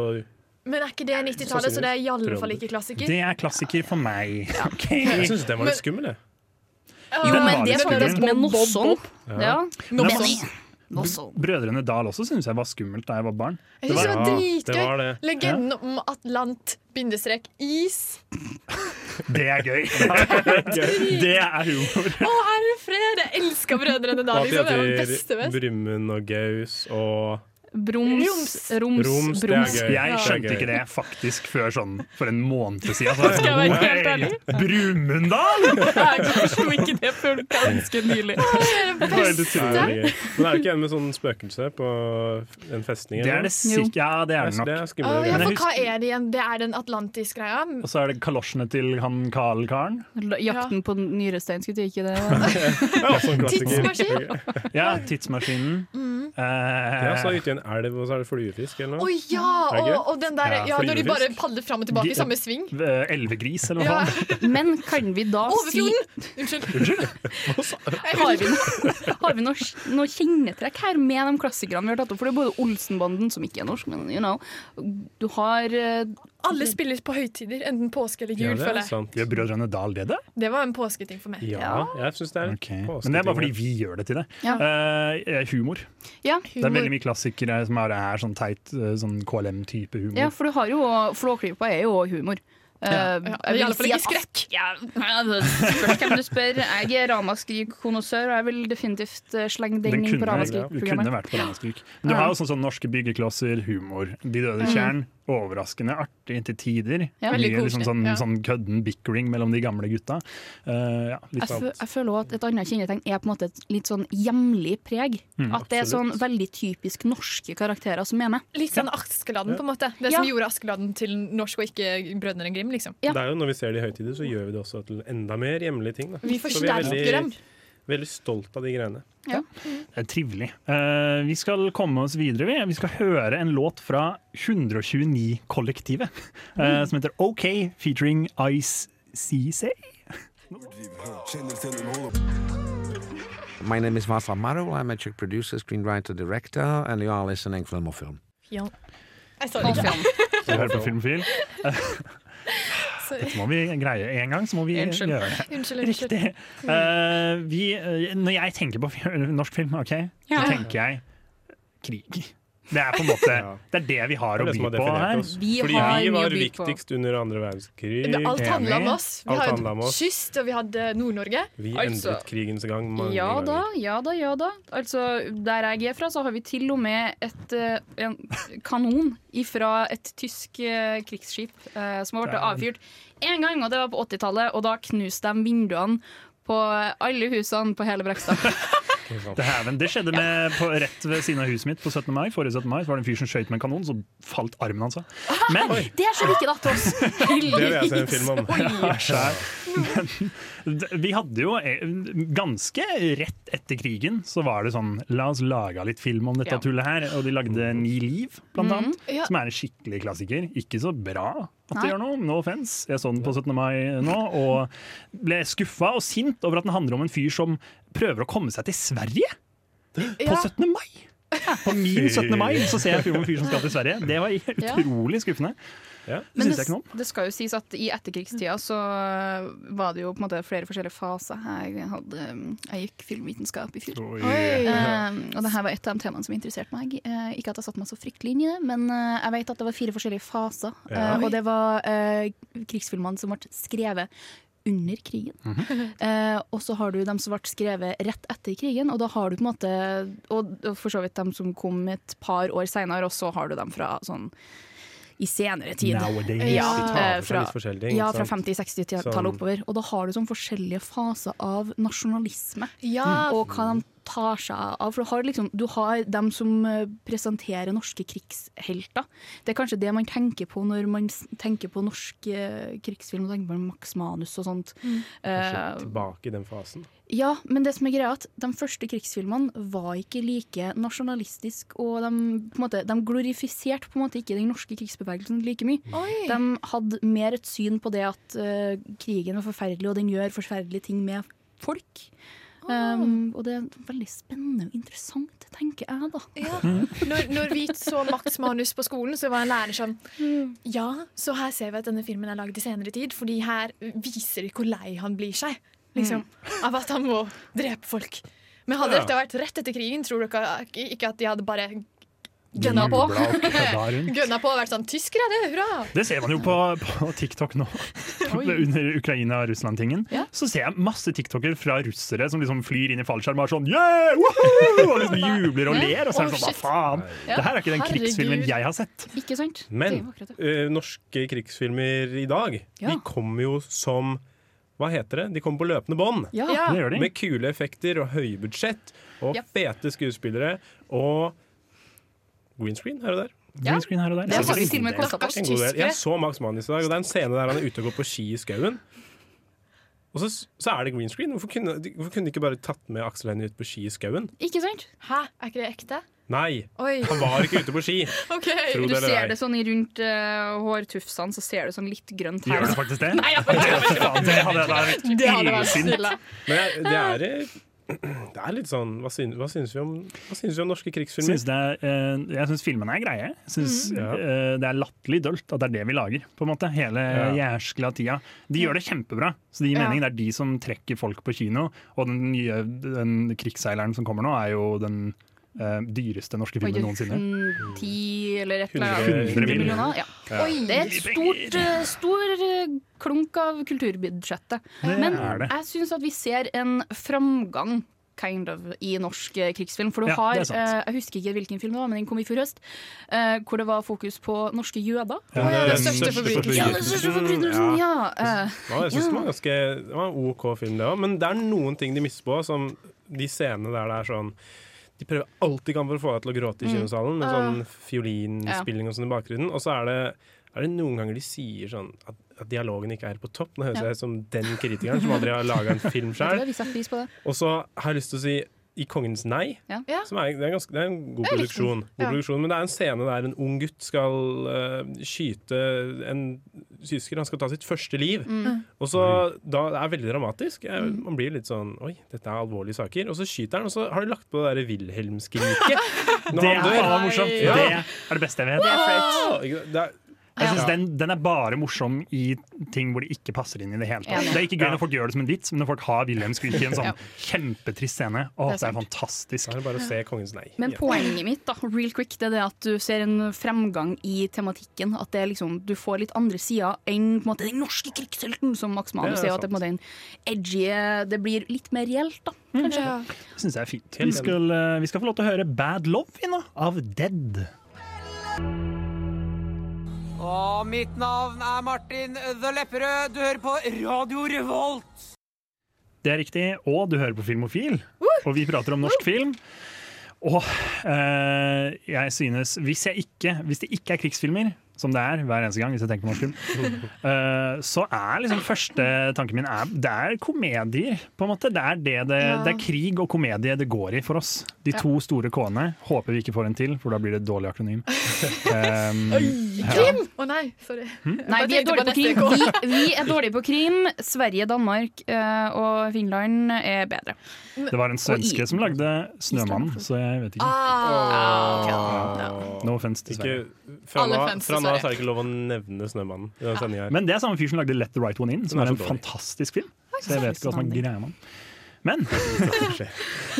Men er ikke det 90-tallet, så det er i alle fall ikke klassiker?
Det er klassiker for meg.
Jeg syns den var litt
Men-
skummel, jeg.
Jo, Den men var det litt er faktisk
med
skummel.
Nosson. Ja.
Men jeg var-
Benny. Nosson.
Brødrene Dal også syns jeg var skummelt da jeg var barn.
Jeg synes det var
det var
dritgøy.
det.
Legenden om Atlant-is.
Det er
[laughs]
gøy! [laughs] det er humor.
Å, herre fred! Jeg elsker Brødrene Dal. Liksom. Det var beste best.
Brumund og Gaus og
Broms. Roms.
Roms, det er
broms.
gøy.
Jeg
Ja.
skjønte
gøy.
ikke det faktisk før sånn for en måned siden. Så
Skal jeg være helt
jeg
ærlig?
sånn, Brumundal!
Jeg forsto ikke det før ganske nylig.
Det var helt utrolig gøy. Men er det ikke en med sånn spøkelse på en festning?
Det er det sikk- ja, det er det nok.
Det er
Å,
skummelt.
ja,
Men jeg
for hva er det igjen? Det er den Atlantis-greia?
Og så er det kalosjene til han Karl-karen.
Jakten på nyrestein, skulle du ikke det?
Ja, Tidsmaskinen.
Mm.
Eh,
Ja, så er det uti en elv, og så er det fluefisk eller
Å
noe.
ja!
Er det
Og,
gøy?
og den der, ja, når de bare padler fram og tilbake i samme sving.
eh, Elvegris, eller hva
Ja.
faen.
Men kan vi da si
Overfjorden! Unnskyld. [laughs]
Har vi, noe, har vi noe, noe kjennetrekk her med de klassikerne vi har tatt opp? For det er både Olsenbanden, som ikke er norsk, men you know. Du har eh,
Alle spiller på høytider, enten påske eller jul, føler jeg.
Gjør Brødrene Dal det, da?
Det var en påsketing for meg.
Ja, jeg syns det er
Ok. Men det er bare fordi vi gjør det til det.
Ja.
Eh, humor.
Ja,
Det er veldig mye klassikere som er, er sånn teit eh, sånn KLM-type humor.
Ja, for du har jo Flåklypa er jo humor.
Ja.
Eh,
Ja,
jeg vil
i alle fall
si
ikke
at- Ja, det spørs hvem du spør. Jeg er ramaskrik-konossør, og jeg vil definitivt eh, slenge den,
Den
inn på
kunne, det kunne
ramaskrik-programmet.
vært på Ramaskrik. Men du har jo sånn, sånn norske byggeklosser, humor. De døde
Mm.
tjern. Overraskende artig til tider.
Ja. Veldig
Mye liksom
koselig,
sånn,
ja.
sånn kødden bickering mellom de gamle gutta. Eh, ja, litt
Jeg, fø
sånt.
jeg føler også at Et annet kjennetegn er på en måte et litt sånn hjemlig preg.
Mm,
at det er sånn
absolutt.
veldig typisk norske karakterer som er med.
Litt sånn Askeladden, på en måte. Det som gjorde Askeladden til norsk og ikke Brødrene Grim, liksom.
Det er jo Når vi ser det i høytider, så gjør vi det også til enda mer hjemlige ting. Da.
Vi
Så
forsterker dem.
Veldig stolt av de greiene.
Det er trivelig. Eh, vi skal komme oss videre. Vi, vi skal høre en låt fra 129-kollektivet
Mm.
eh, som heter OK featuring Ice CC.
My name is Václav Marul. I'm a Czech producer, screenwriter, director, and you are listening Film or Film.
Ja. Jeg sa det
På
ikke.
film.
Vi hører på
[laughs]
Filmfil.
Sorry.
Dette må vi greie en gang, så må vi
Unnskyld.
gjøre det.
Unnskyld, unnskyld. Mm.
Riktig. Eh, vi, eh, når jeg tenker på fi- norsk film, ok,
Ja.
så tenker jeg krig. Det er på en
[laughs]
måte Det er det vi har å
Det er det som
by
har
på
definert
her.
oss. altså.
Vi
Fordi
har
vi
mye å
var
by på.
viktigst under andre verdenskrig.
Det- Alt handla om
Enig.
oss. Vi
Alt
hadde
handla om oss.
kyst, og vi hadde Nord-Norge.
Vi
Altså-
endret krigens gang mange
Ja da,
ganger.
ja da, ja da. Altså, der jeg er fra, så har vi til og med et, eh, en kanon fra et tysk eh, krigsskip eh, som har blitt
Dæven.
avfyrt én gang, og det var på 80-tallet. Og da knuste de vinduene på alle husene på hele Brekstad.
[laughs]
Det, her, men det skjedde med, på, rett ved siden av huset mitt på 17. mai. Forrige 17. mai så var det en fyr som skøyt med en kanon, så falt armen hans av.
Ah!
Men
Det skjedde ikke da til oss.
Det vil jeg se en
[laughs]
film om.
Skjær. Men [laughs] d- vi hadde jo eh, ganske rett etter krigen så var det sånn La oss lage litt film om dette
Ja.
tullet her. Og de lagde Ni liv, blant
Mm.
annet.
Ja.
Som er en skikkelig klassiker. Ikke så bra at
Nei.
det gjør noe. No offense. Jeg så den på 17. mai nå og ble skuffa og sint over at den handler om en fyr som prøver å komme seg til Sverige på
Ja.
17. mai. På min 17. mai så ser jeg en film om en fyr som skal til Sverige. Det var
Ja.
utrolig skuffende. Det
Men
syns jeg
det,
ikke noe om.
det skal jo sies at i etterkrigstida så eh, var det jo på en måte flere forskjellige faser. Jeg, hadde, eh, jeg gikk filmvitenskap i fjor.
Oi.
Eh, og det her var et av de temaene som interesserte meg. Eh, ikke at jeg satte meg så fryktelig inn i det, men eh, jeg vet at det var fire forskjellige faser.
Ja.
Eh, og det var eh, krigsfilmene som ble skrevet under krigen.
Mhm.
[laughs] eh, og så har du dem som ble skrevet rett etter krigen, og da har du på en måte Og, og for så vidt dem som kom et par år seinere, og så har du dem fra sånn i senere tid.
Nowadays.
Ja,
De tar
eh,
for seg
fra-
litt forskjellige ting,
Ja,
ikke
fra
sant?
50-60-tallet
Sånn-
oppover. Og da har du sånn forskjellige faser av nasjonalisme
Ja,
og hva de tar seg av. For du har, liksom, du har dem som eh, presenterer norske krigshelter. Det er kanskje det man tenker på når man s- tenker på norsk eh, krigsfilm. og tenker på Max Manus og sånt. Eh,
Kanskje Tilbake i den fasen.
ja, men det som er greia er at de første krigsfilmene var ikke like nasjonalistisk, og de, på en måte, de glorifiserte på en måte ikke den norske krigsbevegelsen like mye.
Oi.
De hadde mer et syn på det at eh, krigen er forferdelig, og den gjør forferdelige ting med folk. Um, og det er veldig spennende og interessant, tenker jeg da.
Ja. Når, når vi så Max manus på skolen, så var en lærer sånn Ja, så her ser vi at denne filmen er lagd i senere tid, fordi her viser de hvor lei han blir seg liksom, av at han må drepe folk. Men hadde
Ja.
dette vært rett etter krigen, tror dere ikke- ikke at de hadde bare gønna
Jubla
på?
og
[laughs]
kødda rundt.
Gønna på og vært sånn Tyskere, det! Hurra!
Det ser man jo på, på TikTok nå, [laughs] under Ukraina-Russland-tingen.
Ja.
Så ser jeg masse TikToker fra russere som liksom flyr inn i fallskjerm og er sånn yeah, woohoo! Og liksom jubler og ler, og så er
Oh,
det sånn hva
shit.
faen?
Ja.
Det her er ikke den
Herregud.
krigsfilmen jeg har sett.
Ikke sant? Det er
Men
jo akkurat det.
eh, norske krigsfilmer i dag,
Ja.
de kommer jo som Hva heter det? De kommer på løpende bånd.
Ja.
Det gjør de.
Med kule effekter og høybudsjett og
Ja.
fete skuespillere og green screen her og der.
Ja.
Green screen her og der.
Det har
Så
faktisk til og med
det-
kosta på
En god del. Jeg så Max Manus i dag, og det er en scene der han er ute og går på ski i skauen. Og så, så er det green screen. Hvorfor kunne, de- hvorfor kunne de ikke bare tatt med Aksel Hennie ut på ski i skauen?
Ikke sant?
Hæ, er ikke det ekte?
Nei,
[laughs]
Oi.
han var ikke ute på ski. Tro
Du
det
ser
eller ei.
det sånn i rundt eh, hårtufsene, så ser du sånn litt grønt her.
Gjør det faktisk det?
Nei, jeg bare
Faen, det hadde jeg vært
Det hadde vært
illsint.
stille.
Men jeg- det er, det er litt sånn Hva syns, hva syns, vi, om, hva syns vi om norske krigsfilmer?
Syns det er, eh, jeg syns filmene er greie. Jeg Syns eh, det er latterlig dølt at det er det vi lager. på en måte, Hele jæskla tida. De gjør det kjempebra, så det gir
Ja.
mening. Det er de som trekker folk på kino. Og den nye den krigsseileren som kommer nå, er jo den eh, dyreste norske filmen noensinne.
110 eller et eller annet.
100 millioner.
Ja.
Ja.
Oi, det er et stort, eh, stor eh, klunk av kulturbudsjettet.
Det
Men
er det.
jeg syns at vi ser en framgang kind of, i norsk eh, krigsfilm. For du
Ja,
har,
det er sant.
eh, jeg husker ikke hvilken film det var, men den kom i fjor høst, eh, hvor det var fokus på norske jøder.
Ja,
Mm,
Å ja, den den største Eh, største forbrytelsen.
Ja, den største forbrytelsen, ja. eh,
Ja, jeg synes det, var ganske, det var en OK film, det òg. Men det er noen ting de mister på. Som de scenene der det er sånn De prøver alt de kan for å få deg til å gråte i
Mm.
kinosalen, med
Ah.
sånn fiolinspilling og sånn i bakgrunnen. Og så er det, er det noen ganger de sier sånn at, at dialogen ikke er på topp. Nå høres
Ja.
jeg ut som den kritikeren som aldri har laga en
[laughs]
film
Jeg tror
sjøl.
vi setter pris på det.
Og så har jeg lyst til å si I kongens nei.
Ja.
Som er, det, er ganske, det er en god
Jeg likte den.
produksjon. God
Ja.
produksjon. Men det er en scene der en ung gutt skal eh, skyte en tysker. Han skal ta sitt første liv.
Mm.
Og så, da, Det er veldig dramatisk. Jeg, man blir litt sånn Oi, dette er alvorlige saker. Og så skyter han, og så har de lagt på det derre Wilhelm-skriket. når
Det
han
er
dør.
faen meg morsomt!
Ja.
Det er det beste jeg vet.
Det er flaut. Ikke sant? Det er-
Jeg
Ja.
synes den, den er bare morsom i ting hvor det ikke passer inn i det hele tatt.
Enig.
Det er ikke gøy
Ja.
når folk gjør det som en vits, men når folk har Wilhelm Skrik i en sånn
Ja.
kjempetrist scene, å,
Det er
det er
sant.
fantastisk.
er
Da
det bare å se Kongens nei.
Men poenget mitt da, real quick, det er det at du ser en fremgang i tematikken. At det er liksom, du får litt andre sider enn på en måte, den norske krigshelten, som Max
Det
Manus
er
sier. At det, på en måte, er en edgy, eh, det blir litt mer reelt, da. Kanskje.
Det syns jeg er fint. Vi
Helt enig.
skal, eh, vi skal få lov til å høre Bad Love vi nå, av Dead.
Og mitt navn er Martin The Lepperød. Du hører på Radio Revolt.
Det er riktig. Og du hører på Filmofil, og vi prater om norsk film. Og eh, jeg synes hvis, jeg ikke, hvis det ikke er krigsfilmer, som det er hver eneste gang hvis jeg tenker på norsk [laughs] film, eh, så er liksom første tanken min er, Det er komedier, på en måte. Det er, det, det,
Ja.
det er krig og komedie det går i for oss. De
Ja.
to store K-ene. Håper vi ikke får en til, for da blir det et dårlig
[laughs]
akronym. Um, ja.
Krim! Å nei, sorry.
Nei,
Jeg
vi er
tenkte
dårlige på
neste
krim.
gang.
Vi, vi er dårlige på krim. Sverige, Danmark eh, og Finland er bedre.
Det var en svenske
Og i-
som lagde 'Snømannen', så jeg vet ikke.
Ah,
No offense til Sverige.
Ikke, fra
Alle
nå
fans til
fra nå av så er
Sverige.
det ikke lov å nevne Snømannen i denne sendingen her.
Men det er samme fyr som lagde 'Let the Right One In', som
Den
er
er
en
så dårlig.
fantastisk film.
Oi,
Så jeg vet ikke hva som er
sanning.
greia med den. Men,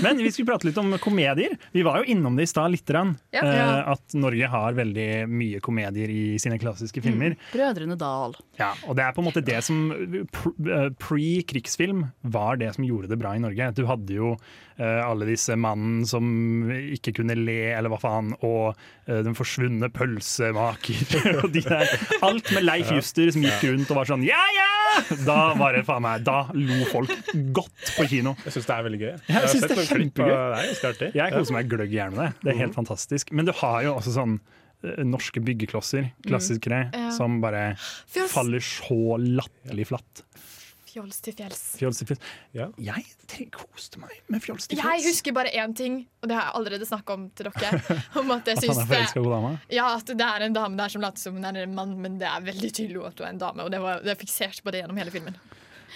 men vi skulle prate litt om komedier. Vi var jo innom det i stad lite grann.
Ja.
eh,
Ja.
At Norge har veldig mye komedier i sine klassiske filmer.
Mm. Brødrene Dal.
Ja, og det er på en måte det som pr- eh, Pre-krigsfilm var det som gjorde det bra i Norge. Du hadde jo eh, alle disse mannen som ikke kunne le, eller hva faen, og eh, den forsvunne pølsemaker [laughs] og de der. Alt med Leif
Ja.
Juster som gikk
Ja.
rundt og var sånn ja, ja! Da var det faen meg Da lo folk godt på kino.
Jeg syns det er veldig gøy.
Ja, jeg synes
sett
det er
noen klipp
kjempegøy.
av- Det er ganske artig.
Jeg
Ja.
koser meg gløgg i hjernen med det. Det er helt fantastisk. Men du har jo også sånn eh, norske byggeklosser, klassikere,
Mm. Ja.
som bare
Fjols.
faller så latterlig flatt.
Fjols til fjells.
Fjols til fjols. Jeg tre- koste meg med fjols til
Jeg
fjols.
husker bare én ting, og det har jeg allerede snakka om til dere.
[laughs]
Om at jeg
At han
syns
er
det
forelska i dama.
Ja, at det er en dame der som later som hun er en mann, men det er veldig tydelig at hun er en dame. Og det var, jeg fikserte på det gjennom hele filmen.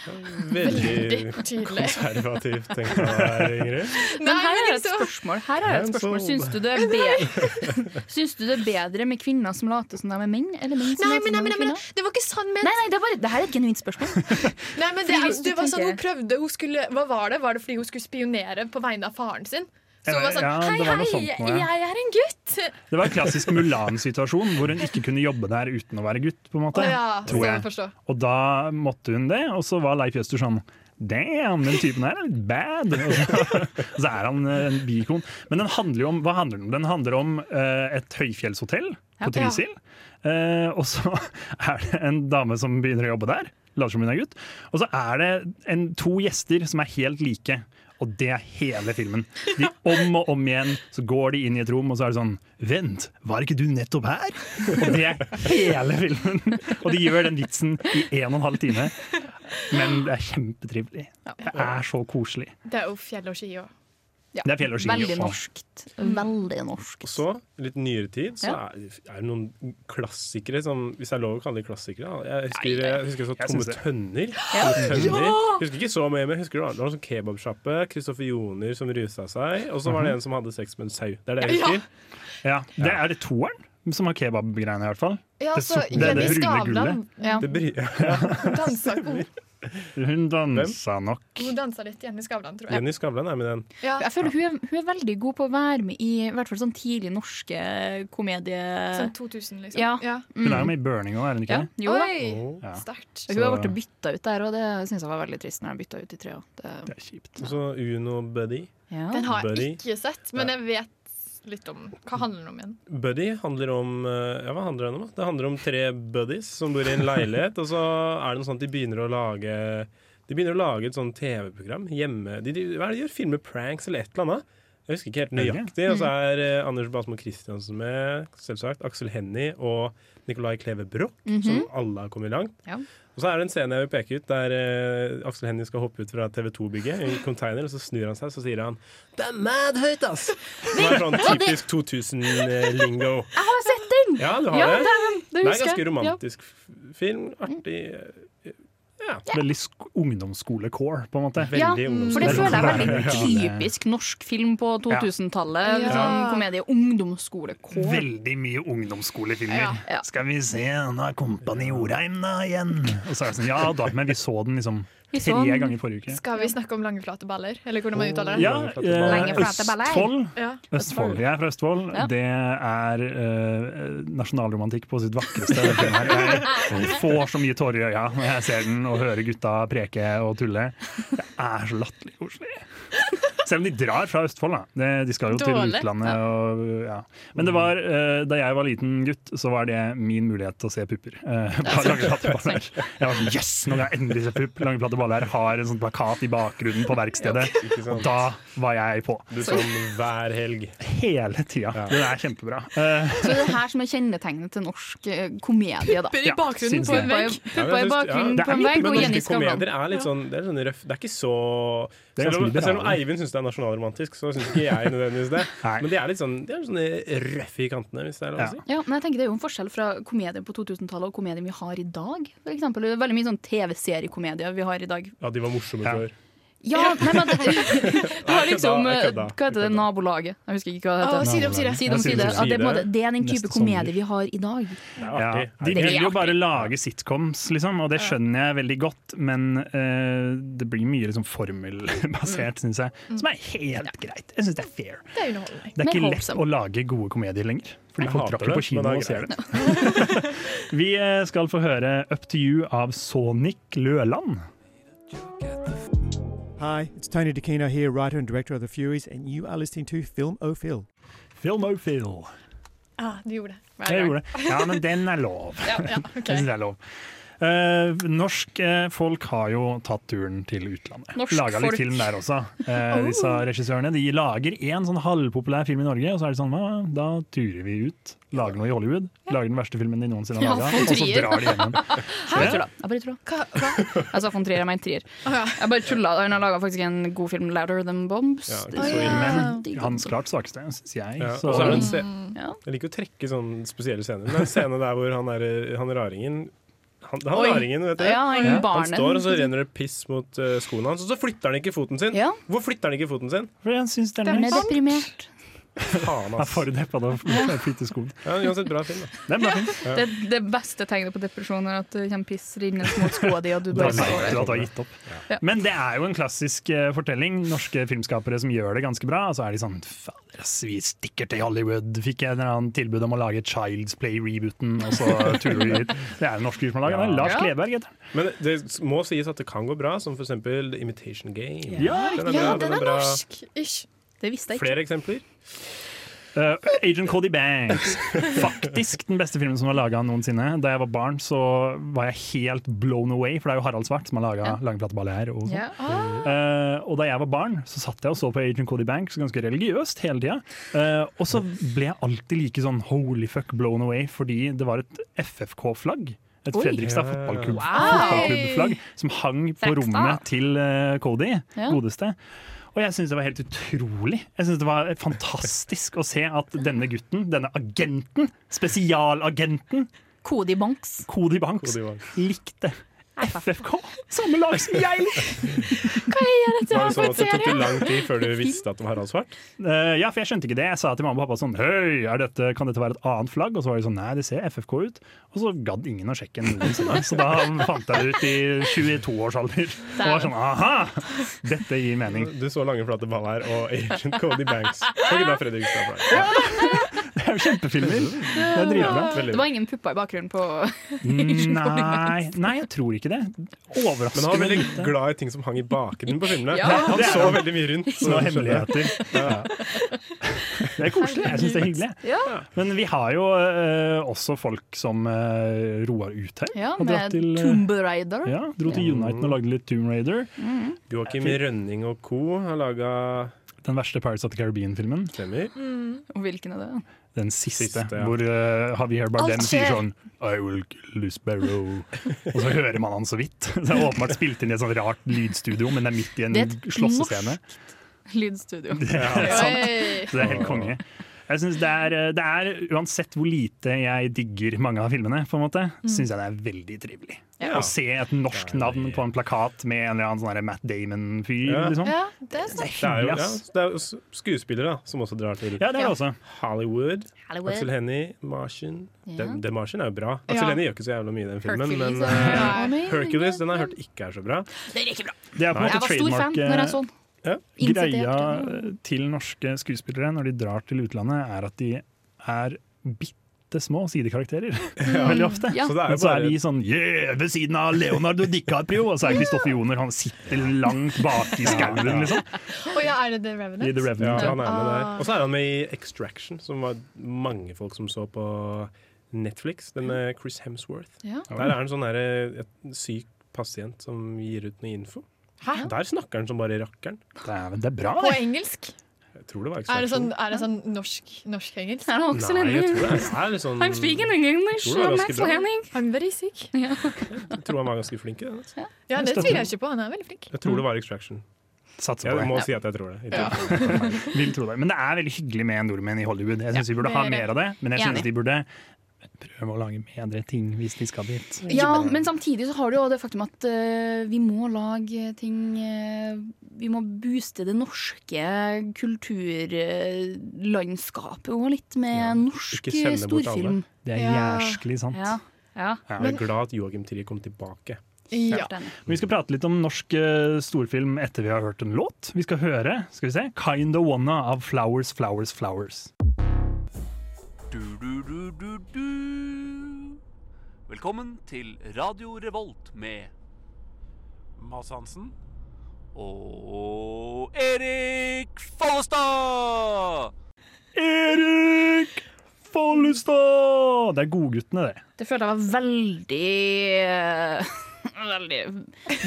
Veldig
Veldig tydelig.
konservativt tenkt av deg, Ingrid.
Men her er
liksom.
et spørsmål. Her er et
Hands
spørsmål.
on.
Syns du, det er bedre, [laughs] syns du det er bedre med kvinner som later som de er menn, eller menn som
Nei,
later
men, nei,
som de
men,
er
nei, men
kvinner?
det var ikke sånn ment!
Nei, nei, det, er bare, det her er et genuint spørsmål.
Nei, men det,
Fordi
er-
hvis du
det var sånn, hun
tenker-
prøvde hun skulle, Hva var det? Var det fordi hun skulle spionere på vegne av faren sin? Så hun
Ja,
var sånn
ja,
Hei,
det var noe
hei,
sånt noe, ja.
jeg er en gutt!
Det var en klassisk Mulan-situasjon, hvor hun ikke kunne jobbe der uten å være gutt. på en måte,
Å ja, så
tror
jeg
jeg.
forstår.
Og da måtte hun det, og så var Leif Jøster sånn Damn, den typen her er litt bad! [laughs] Og så, så er han eh, en bikon. Men den handler jo om hva handler den om? Den handler om eh, et høyfjellshotell
Ja.
på Trysil. Eh, og så [laughs] er det en dame som begynner å jobbe der. Later som hun er gutt. Og så er det en, to gjester som er helt like. Og det er hele filmen. De Om og om igjen så går de inn i et rom, og så er det sånn Vent, var ikke du nettopp her? Og det er hele filmen! Og de gjør den vitsen i en og en halv time. Men det er kjempetrivelig. Det er så koselig.
Det er jo fjell og ski og
Ja.
Det er fjell og sånn. ski.
Veldig
Ja.
norskt. Veldig norsk.
Og så, litt nyere tid, så
Ja.
er, er det noen klassikere som Hvis det er lov å kalle de klassikere? da. Jeg husker, jeg husker så
Jeg
Tomme
synes det.
tønner.
Ja.
Tomme tønner.
Ja!
Husker ikke så mye, men husker det var- det var en sånn kebabsjappe, Kristoffer Joner som rusa seg, og så var det en som hadde sex med en sau. Det er det jeg
Ja.
husker.
Ja, det er det toeren som har kebabgreiene, i hvert fall.
Ja,
det,
så
sort- det, det
Jenny
brune
Skavlan
gullet.
ja.
Mm.
Det bry-
dansa god.
Hun dansa nok.
Hun dansa litt Jenny Skavlan, tror jeg.
Jenny Skavlan er med i den.
Jeg føler hun er, hun er veldig god på å være med i i hvert fall sånn tidlig norske komedie...
Sånn 2000, liksom.
Ja.
Hun er jo med i Burning òg, er hun ikke?
Ja.
det?
Jo da.
Åh. Ja.
Sterkt.
Hun har
Så-
blitt bytta ut der, og det syns jeg var veldig trist. når jeg bytta ut i tre år. Det,
det er kjipt.
Og så Uno Buddy.
Den har
Buddy.
jeg ikke sett, men jeg vet litt om Hva handler den om igjen?
Buddy handler om eh, Ja, hva handler den om? da? Det handler om tre buddies som bor i en leilighet, og så er det noe sånt at de begynner å lage De begynner å lage et sånt TV-program hjemme. De, de, hva er det de gjør? Filmer pranks eller et eller annet? Jeg husker ikke helt nøyaktig.
Mm.
Og så er eh, Anders Basmo Christiansen med, selvsagt. Aksel Hennie og Nicolai Kleve Broch,
Mhm.
som alle har kommet langt.
Ja.
Og så er det en scene jeg vil peke ut, der eh, Aksel Hennie skal hoppe ut fra TV2-bygget i en container, og så snur han seg, så sier han Det er mad høyt, ass! Som er sånn
Hva det-
typisk 2000-lingo.
Jeg har sett den!
Ja, du har
Ja,
det.
det er den. Det
er en
husker jeg.
ganske romantisk f- film. Artig.
Veldig sk- ungdomsskole-core, på en måte.
Ja, for det føler jeg er veldig
Ja.
typisk norsk film på 2000-tallet.
Ja.
Sånn komedie ungdomsskolekår.
Veldig mye ungdomsskolefilmer.
Ja, ja.
Skal vi se, nå er Kompani Orheim da igjen. Og så er det sånn, ja da, men vi så den liksom
Vi så
tre
den.
ganger forrige uke.
Skal vi snakke om lange, flate baller? Eller hvordan man uttaler det?
Ja, eh, Østfold.
Ja.
Østfold. Jeg er fra Østfold.
Ja.
Det er eh, nasjonalromantikk på sitt vakreste. den filmen her. Jeg får så mye tårer i øya når jeg ser den og hører gutta preke og tulle. Det er så latterlig koselig. Selv om de drar fra Østfold, da. De- De skal jo til
Dårlig,
utlandet. Og, ja. Men det var, eh, da jeg var liten gutt, så var det min mulighet til å se pupper. Eh, på Langeplate Baller. jeg var sånn yes, nå kan jeg endelig se pupp! Langeplate Baller har en sånn plakat i bakgrunnen på verkstedet. Og da var jeg på.
Du så den hver helg?
Hele tida. Den er kjempebra. [laughs] Eh,
Så det er her som er kjennetegnet til norsk eh, komedie, da.
Pupper i Ja, bakgrunnen syns på en jeg. vegg.
Ja,
Pupper
men
i
jeg synes-
bakgrunnen
ja.
på en vegg,
Men
og
norske
Jenny Skavlan.
komedier er litt sånn, det er sånn røff. Det er ikke så
Det er
Selv om,
ganske
selv om
liberale.
Eivind syns det er nasjonalromantisk, så syns ikke jeg nødvendigvis det. Men de er litt sånn, de er sånn røffe i kantene, hvis det er lov å si.
Ja, men jeg tenker Det er jo en forskjell fra komedien på 2000-tallet og komedien vi har i dag. For eksempel, det er veldig mye sånn TV-seriekomedier vi har i dag.
Ja, de var morsomme før.
Ja, nei, men [laughs] det, det var
Jeg
liksom
kødda, jeg
eh, Hva
kødda,
heter det? Nabolaget? Jeg husker ikke hva det
Å,
heter.
Side om side.
Side om
Ja, Side om
side. Ja, det, er på en
side.
måte, det er den type
Neste sommer.
komedie vi har i dag.
ja. De
Det er
vil jo bare lage sitcoms, liksom, og det skjønner jeg veldig godt. Men eh, det blir mye liksom,
Mm.
formelbasert, syns jeg. Som er helt greit. Jeg syns det er fair.
Det er underholdning.
Det er ikke lett å lage gode komedier lenger. Fordi
Jeg
folk
hater
drar ikke
det,
på kino
men
og
det er
ser det. [laughs] Vi eh, skal få høre 'Up to You' av Sonic Løland.
Hi, it's Tony DeCino here, writer and director of The Furies, and you are listening to Film O'Phil.
Film O'Phil.
Ah, du gjorde det. Hver
Jeg
gang.
gjorde det. Ja, men den er lov.
Ja, ja, ok.
Jeg synes det er lov. Eh, norsk eh, folk har jo tatt turen til utlandet.
Norsk
Laga litt
folk.
film der også. Eh,
Oh.
Disse regissørene de lager én sånn halvpopulær film i Norge, og så er de sånn "Hva, Da turer vi ut, lager noe i Hollywood, lager den verste filmen de noensinne har laga, og så drar de hjem igjen.
Hæ? Jeg tulla. Jeg bare tulla. [laughs] Jeg sa von Trier, jeg mente Trier. Jeg bare tulla. Han har laga faktisk en god film, 'Louder Than Bombs'.
Ja, det
Det
er så
er-
ille.
Men hans klart svakeste, syns jeg.
Ja,
Så-
og så er det en se Jeg liker å trekke sånne spesielle scener. Det er en scene der hvor han, er, han raringen han, han
Oi.
raringen, vet du.
Ja, han barnen.
står, og
liksom.
så renner det piss mot eh, skoene hans. Og så flytter han ikke foten sin! Hvor flytter han ikke foten sin?
For jeg syns den
Den er deprimert.
Faen,
[laughs] Jeg er
ass.
for deppa da, [laughs] for flytte skoen.
Ja, uansett, bra film, da.
Det er bra film.
Det, det beste tegnet på depresjon er at det kommer piss rinnende mot skoa di, og
[laughs]
du
Da
bare
merker
står
du at du
der.
har gitt opp.
Ja.
Men det er jo en klassisk eh, fortelling. Norske filmskapere som gjør det ganske bra. Og så er de sånn Fader, ass, vi stikker til Hollywood. Fikk jeg en eller annen tilbud om å lage Child's Play-rebooten, og så turer vi hit. Det er jo norske fyr som har laget den. Lars Kleberg. heter han.
Men det må sies at det kan gå bra, som for eksempel The Imitation Game.
Ja,
Den er
Ja,
bra,
den er
bra.
norsk. Ish.
Det visste
Flere eksempler?
Eh, Agent Cody Banks. Faktisk den beste filmen som var laga noensinne. Da jeg var barn, så var jeg helt blown away, for det er jo Harald Svart som har laga Langplateballet her. Og sånn.
Ja. Ah.
Eh, og da jeg var barn, så satt jeg og så på Agent Cody Banks ganske religiøst hele tida. Eh, og så ble jeg alltid like sånn holy fuck blown away, fordi det var et FFK-flagg. Et
Oi.
Fredrikstad
Ja.
fotballklubb-
Wow.
fotballklubb-flagg som hang på
Fredrikstad.
rommet til eh, Cody,
Ja.
godeste. Og jeg syns det var helt utrolig. Jeg synes Det var fantastisk å se at denne gutten, denne agenten, spesialagenten
Cody Banks.
Cody Banks, likte FFK! Samme lag som jeg
Hva er dette
Var
her
det sånn
for
at det tok det lang
serie?
tid før du visste at det var Harald Svart?
Eh, ja, for jeg skjønte ikke det. Jeg sa til mamma og pappa sånn Høy, er dette, kan dette være et annet flagg? Og så var de sånn nei, det ser FFK ut. Og så gadd ingen å sjekke noensinne. Så da fant jeg det ut i 22-årsalder. Og var sånn aha! Dette gir mening.
Du så lange, flate baller og Agent Cody Banks. Kan ikke da Fredrikstad for deg?
Det er jo kjempefilmer! Det er dritbra.
Det var ingen pupper i bakgrunnen på
Nei, nei, jeg tror ikke det.
Men han var
Overraskende
veldig
lite.
glad i ting som hang i bakgrunnen på filmene.
Ja.
Han
Det er
så
han.
veldig mye rundt.
Små hemmeligheter. Det er koselig. Jeg syns det er hyggelig.
Ja.
Men vi har jo eh, også folk som eh, roar ut her.
Ja,
og dratt
med
til, eh,
Tomb Raider.
Ja, dro til Uniten og lagde litt Tomb Raider.
Mhm.
Joakim Rønning og co. har laga
Den verste Pirates of the Caribbean-filmen.
Stemmer.
Og hvilken er det?
Den siste,
Siste, ja.
hvor eh, Javier Bardem
Alt
sier
skjer.
sånn I will kill this barrow. Og så hører man han så vidt. [laughs] Det er åpenbart spilt inn i et sånt rart lydstudio, men det er midt i en
Det er et
slåssescene. [laughs]
[laughs]
Lydstudio.
Det er
Oi.
sant. Så det er helt konge. Jeg synes det, er, eh, det er, Uansett hvor lite jeg digger mange av filmene, på en måte,
Mm.
syns jeg det er veldig trivelig.
Ja.
Å se et norsk navn på en plakat med en eller annen sånn her Matt Damon-fyr.
Ja.
Liksom.
Ja, det er sant.
Det
Det er jo,
hyggelig,
ja,
ass.
det er jo s- skuespillere da, som også drar til
Ja, det er det også.
Hollywood.
Hollywood.
Axel Hennie, Martian.
Ja.
Den, den Martian er jo bra. Axel
Ja.
Hennie gjør ikke så jævla mye i den filmen,
Hercules
men
er-
eh,
Nei.
Hercules den har jeg hørt eh, ikke er så bra.
Det er ikke bra.
Det er på en
jeg
måte
var stor fan
trademark-
når jeg så den.
Ja.
Innsett i
Greia
hjertet.
til norske skuespillere når de drar til utlandet, er at de er bitte små sidekarakterer. [laughs] Veldig ofte.
Ja. Så det er jo
Men så er
bare-
vi sånn yeah, ved siden av Leonardo DiCaprio, og så er Kristoffer Joner, han sitter langt bak i skauen, liksom.
Og ja, er det The Revenant?
I The Revenant.
Ja, han er med
Ah.
der. Og så er han med i Extraction, som var mange folk som så på Netflix. Den med Chris Hemsworth.
Ja.
Der er han sånn der, eh, et syk pasient som gir ut noe info.
Hæ?
Der snakker han som bare rakkeren.
Det er, det er bra,
På engelsk?
Jeg tror det var
Er det sånn,
Extraction.
er det sånn norsk- norsk-engelsk?
Nei, jeg tror det er litt sånn Jeg tror det var ganske bra.
I'm very sick. Ja,
Jeg tror han var ganske flink i det.
det tviler jeg ikke på. Han er veldig flink.
Jeg tror det var Extraction.
Satser på
Jeg
det.
må si at jeg tror det.
Ja.
Vil tro det. Men det er veldig hyggelig med nordmenn i Hollywood. Jeg syns vi burde
det
ha
er det.
mer av det, men jeg
Enig.
syns de burde prøve å lage bedre ting hvis de skal dit.
Ja, men samtidig så har du jo det faktum at eh, vi må lage ting eh, Vi må booste det norske kulturlandskapet òg litt med norsk eh, storfilm.
Det er
Ja.
jærskelig sant.
Ja. Ja.
Jeg er
Men-
glad at Joakim Trier kom tilbake.
Ja.
Men Vi skal prate litt om norsk eh, storfilm etter vi har hørt en låt. Vi skal høre skal vi se, Kinda Wanna av Flowers, Flowers, Flowers.
Velkommen til Radio Revolt med Mads Hansen og Erik Follestad!
Erik Follestad! Det er godguttene, det.
Det følte jeg var veldig eh, [laughs] Veldig,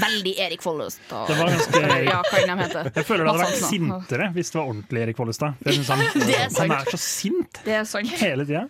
veldig Erik Follestad.
Det var ganske
Ja, hva enn de heter.
[laughs] Jeg føler det hadde vært
Mads Hansen, ja.
sintere hvis det var ordentlig Erik Follestad. For jeg synes han,
[laughs] Det er sant.
han er så sint
Det er sant.
hele tida.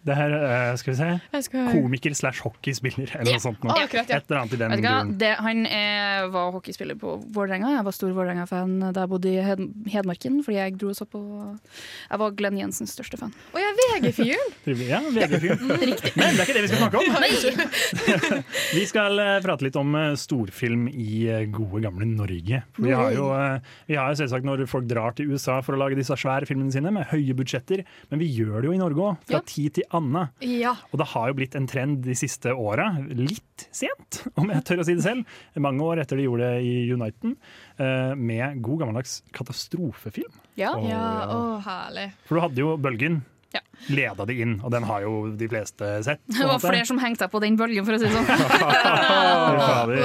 Det her, eh, skal vi se
Jeg skal høre.
Komiker slash hockeyspiller eller
Mm. Ja,
noe sånt. nå.
akkurat, ja.
Et eller annet i den
Vet du hva?
duren.
Det, han eh, var hockeyspiller på Vålerenga. Jeg var stor Vålerenga-fan da jeg bodde i Hed Hedmarken. Fordi jeg dro oss opp og Jeg var Glenn Jensens største fan.
Og jeg er VG-fyren!
Trivelig. Ja,
[laughs]
VG-fyren. Men det er ikke det vi skal snakke om. Vi skal eh, prate litt om eh, storfilm i eh, gode, gamle Norge. For Vi har jo eh, vi har jo selvsagt når folk drar til USA for å lage disse svære filmene sine med høye budsjetter, men vi gjør det jo i Norge òg, fra tid til annen.
Ja.
Og det har jo blitt en trend de siste åra, litt sent, [laughs] om jeg tør å si det selv, mange år etter de gjorde det i Uniten, eh, med god gammeldags katastrofefilm.
Ja,
Å, ja.
Å, herlig.
For du hadde jo Bølgen.
Ja.
Leda de inn, og den har jo de fleste sett. på en
Det var
måte.
flere som hengte seg på den bølgen, for å si det sånn.
Fy fader.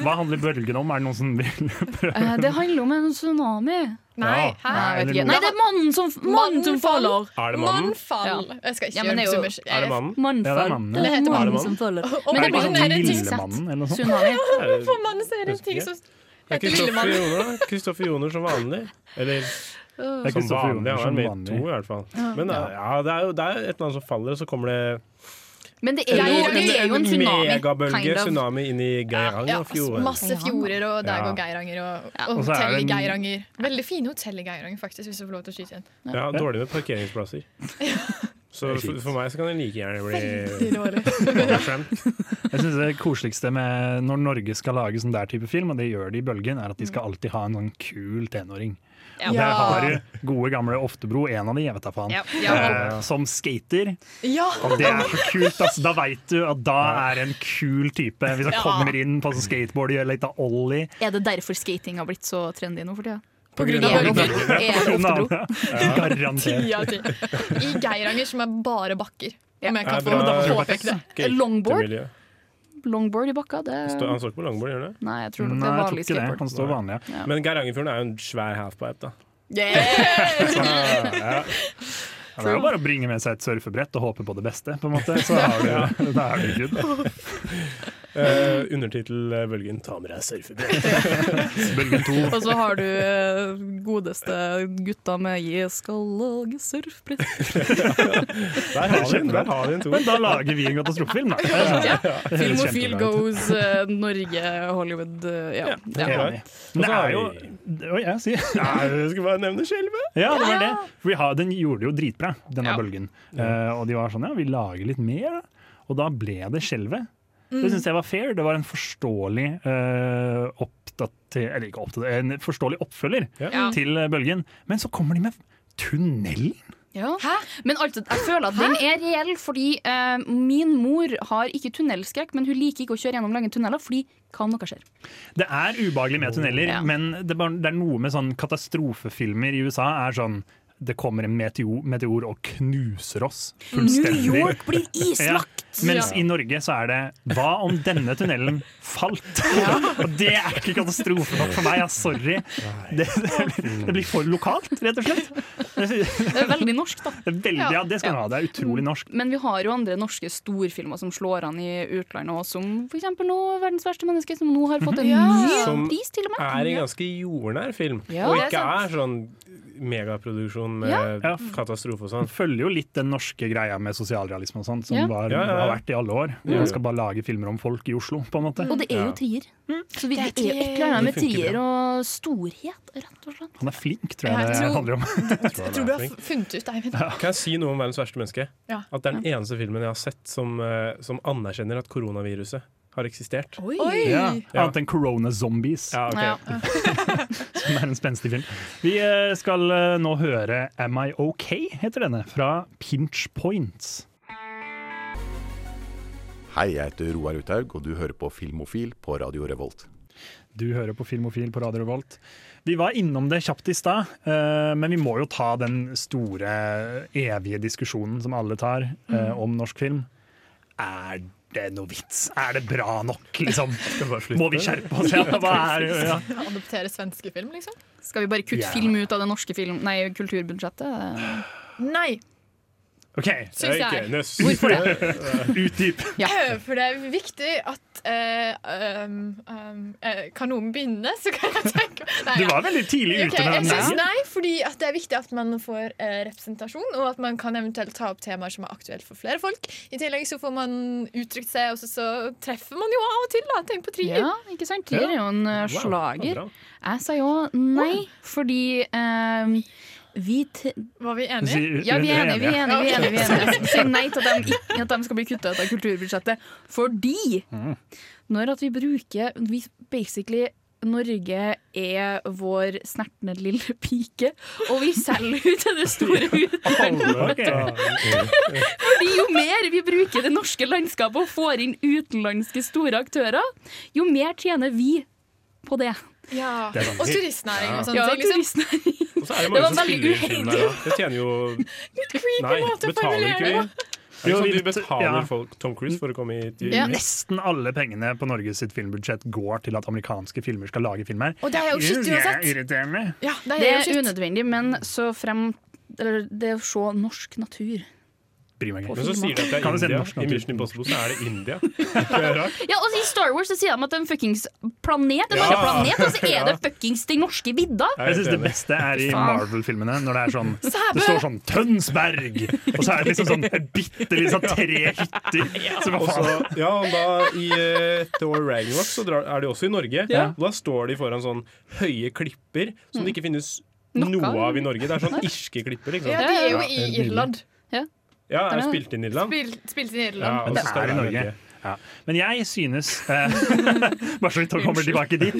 Hva handler bølgen om? Er det noen som vil
Eh, det handler om en tsunami.
Nei, hæ?
Nei, jeg vet
Eller
ikke.
noe-
Nei det er mannen som, mannen som faller!
Er det mannen?
Mannfall. Jeg skal ikke
Ja, men
gjøre
det er jo-
summers- jeg-
Ja, det er mannen.
Eller heter
Er det
mannen som følger.
Og-
er
og-
det ikke
og-
sånn
er det en ting-
Lillemannen eller noe sånt?
Tsunami.
For mannen så er det en ting som
Det er
heter
Kristoffer
Lillemann.
Joner, da. Kristoffer Joner som vanlig. Eller
Det
som
er Kristoffer
vanlig.
Joner
Han
som
er med i
vanlig.
to, i hvert fall.
Ja.
Men ja, det er jo det er et eller annet som faller, og så kommer det
Men det er jo, men det er jo en tsunami.
Megabølge
kind of.
tsunami inn i Geiranger og fjorden.
Masse fjorder og der går Geiranger og, og
Og så er
hotell i
det en-
Geiranger. Veldig fine hotell i Geiranger, faktisk, hvis du får lov til å skyte igjen.
Ja, dårlig med
[laughs]
parkeringsplasser. Så for, for meg så kan det like gjerne bli [laughs]
Veldig dårlig.
oversvømt.
Jeg synes Det koseligste med når Norge skal lage sånn der type film, og det gjør de i Bølgen, er at de skal alltid ha en sånn kul tenåring.
Ja.
Og Der har du gode, gamle Oftebro, en av de, jeg vet da faen,
Ja, ja.
Eh, som skater.
Ja!
Og det er så kult, ass. Da veit du at da er en kul type. Hvis han
Ja.
kommer inn på sånn skateboard og gjør litt av ollie.
Er det derfor skating har blitt så trendy nå for tida?
På grunn av
Er
Bølgen.
Oftebro- er
På grunn av [laughs]
Oftebro.
Ti
[laughs]
Anne. Garantert.
av ti. I Geiranger, som er bare bakker. Om jeg
Ja,
kan få
bra
lov til å påpeke det.
skatemiljø.
[laughs] Longboard? Longboard i bakka, det
Stå- Han står ikke på longboard, gjør han det?
Nei, jeg tror nok det er vanlig [laughs] skateboard. Ja.
Men Geirangerfjorden er jo en svær halfpipe, da.
Ja. Ja, Det er jo bare å bringe med seg et surfebrett og håpe på det beste, på en måte. Så har du, [laughs] da er du good.
Eh, undertittel eh, 'Bølgen ta med deg surfebrett'.
Bølgen
Og så har du eh, godeste gutta med 'Jeg skal lage surfbrett'.
Der har vi en, der har vi en to.
Men da lager vi en katastrofefilm, da.
Ja.
Det høres
Filmofil
kjempebra ut.
goes eh, Norge, Hollywood eh, Ja. ja.
Enig. sånn. Men det er jo Oi, jeg sier
Nei, jeg skulle bare nevne skjelvet.
Ja, det var det. For vi har, den gjorde det jo dritbra, denne bølgen. Eh, og de var sånn ja, vi lager litt mer, da. Og da ble det skjelvet.
Mm.
Det syns jeg var fair. Det var en forståelig eh, oppdater... Eller ikke oppdater, en forståelig oppfølger
Ja.
til eh, bølgen. Men så kommer de med tunnelen!
Ja. Men altså, jeg føler at den er reell, fordi eh, min mor har ikke tunnelskrekk, men hun liker ikke å kjøre gjennom lange tunneler, fordi kan noe skjer.
Det er ubehagelig med tunneler,
Ja.
men det, er bare, det er noe med sånn katastrofefilmer i USA er sånn det kommer en meteor, meteor og knuser oss fullstendig.
New York blir
[laughs]
islagt!
Ja. Mens
Ja.
i Norge så er det Hva om denne tunnelen falt? og det er ikke katastrofe nok for meg, ass. Sorry. Det, det, blir- det blir for lokalt, rett og slett.
Det er veldig norsk, da.
Det er veldig, ja, det skal man ha. Det er utrolig norsk.
Men vi har jo andre norske storfilmer som slår an i utlandet, og som for eksempel nå 'Verdens verste menneske', som nå har [laughs] fått en ny pris, til og med.
er en ganske jordnær film,
Ja,
og
det er
ikke
sant.
er sånn megaproduksjon med
Ja.
katastrofe og sånn.
følger jo litt den norske greia med sosialrealisme og sånt, som
Ja.
var,
Ja, ja, ja.
har vært i alle år.
Ja.
Man skal bare lage filmer om folk i Oslo, på en måte.
Og det er jo
Ja.
trier. Så vi, Mm. det
Det
er
er
jo et
trier.
eller annet med
Det funker
trier og storhet, rett og slett.
Han er flink, tror jeg
Jeg
det
tror-
handler om.
Jeg tror du har funnet ut, Eivind.
Kan jeg si noe om verdens verste menneske?
Ja.
At det er den eneste filmen jeg har sett som, eh, som anerkjenner at koronaviruset har eksistert.
Oi!
Ja. Annet enn Corona Zombies,
Ja, ok.
[laughs] som er en spenstig film. Vi eh, skal eh, nå høre Am I OK, heter denne, fra Pinch Points.
Hei, jeg heter Roar Uthaug, og du hører på Filmofil på Radio Revolt.
Du hører på Filmofil på Radio Revolt. Vi var innom det kjapt i stad, eh, men vi må jo ta den store, evige diskusjonen som alle tar eh,
Mm.
om norsk film. Er det noe vits? Er det bra nok, liksom? Må vi skjerpe oss? Ja, hva er, ja.
Adoptere svenske film, liksom?
Skal vi bare kutte
Ja.
film ut av det norske film, nei, kulturbudsjettet?
Nei!
OK,
[laughs]
eh,
Syns jeg.
Ok, nøss.
Hvorfor
Utdyp.
Eh, For det er viktig at eh, um, um, eh, Kan noen begynne, så kan jeg tenke Nei,
Du
ja.
var veldig tidlig
Ok,
ute med
jeg
den.
synes nei, fordi at det er viktig at man får eh, representasjon, og at man kan eventuelt ta opp temaer som er aktuelle for flere folk. I tillegg så får man uttrykt seg, og så, så treffer man jo av og til, da. Tenk på trier.
Ja, ikke sant? Trier er jo en eh,
Wow,
slager.
bra.
Jeg sa jo nei, fordi eh, vi t
Var vi
enige? Ja, vi er enige.
[laughs]
Vi er enige, vi er enige, vi er enige. Jeg sier nei til at de, ikke- at de skal bli kutta ut av kulturbudsjettet. Fordi når at vi bruker vi Basically, Norge er vår snertne lille pike, og vi selger ut til det store utlandet. Fordi jo mer vi bruker det norske landskapet og får inn utenlandske store aktører, jo mer tjener vi på det.
Ja.
Det er sant.
Og turistnæringen
Sånn
og sånne
Ja,
ting. Liksom.
Og så er
Det
det mange
var
som
veldig
spiller i filmen her, da. Det tjener jo
Litt creepy
Nei,
måte å
betaler ikke vi?
formulere det på.
Er det
Jo,
sånn
Liksom vi
at vi betaler
ja.
folk Tom Cruise for å komme hit?
Ja. Nesten alle pengene på Norges sitt filmbudsjett går til at amerikanske filmer skal lage film her.
Og det er jo skitt uansett.
Det er irriterende.
det, er unødvendig, men så frem eller, Det å se norsk natur
bryr meg ikke.
Men så sier de at det
Kan
er
vi se
India.
norsk
I
natur?
Mission Impossible så er det India. Det er rart.
Ja, og I Star Wars så sier de at det er en fuckings planet. Det er
Ja.
bare en planet, og så er det
Ja.
fuckings den norske vidda!
Jeg syns det beste er i
Faen.
Marvel-filmene, når det er sånn
[laughs] Sæbø!
Det står sånn 'Tønsberg', og så er det liksom sånn et bitte lite sånn tre hytter.
[laughs]
Så hva
Og
faen?
så- ja, og da i eh, Thor Ragnarok så drar, er de også i Norge.
Ja.
Og da står de foran sånn høye klipper som det ikke finnes noe av i Norge. Det er sånn irske klipper. Ikke
Ja,
sant?
de er jo i
helt nydelig.
Irland.
Ja, er
Ja.
det spilt inn i Irland?
Spil, spilt inn i Irland.
Ja, altså, og så står
det er i Norge. Ja. Men jeg synes eh, [laughs] Bare så vi tar- kommer tilbake dit.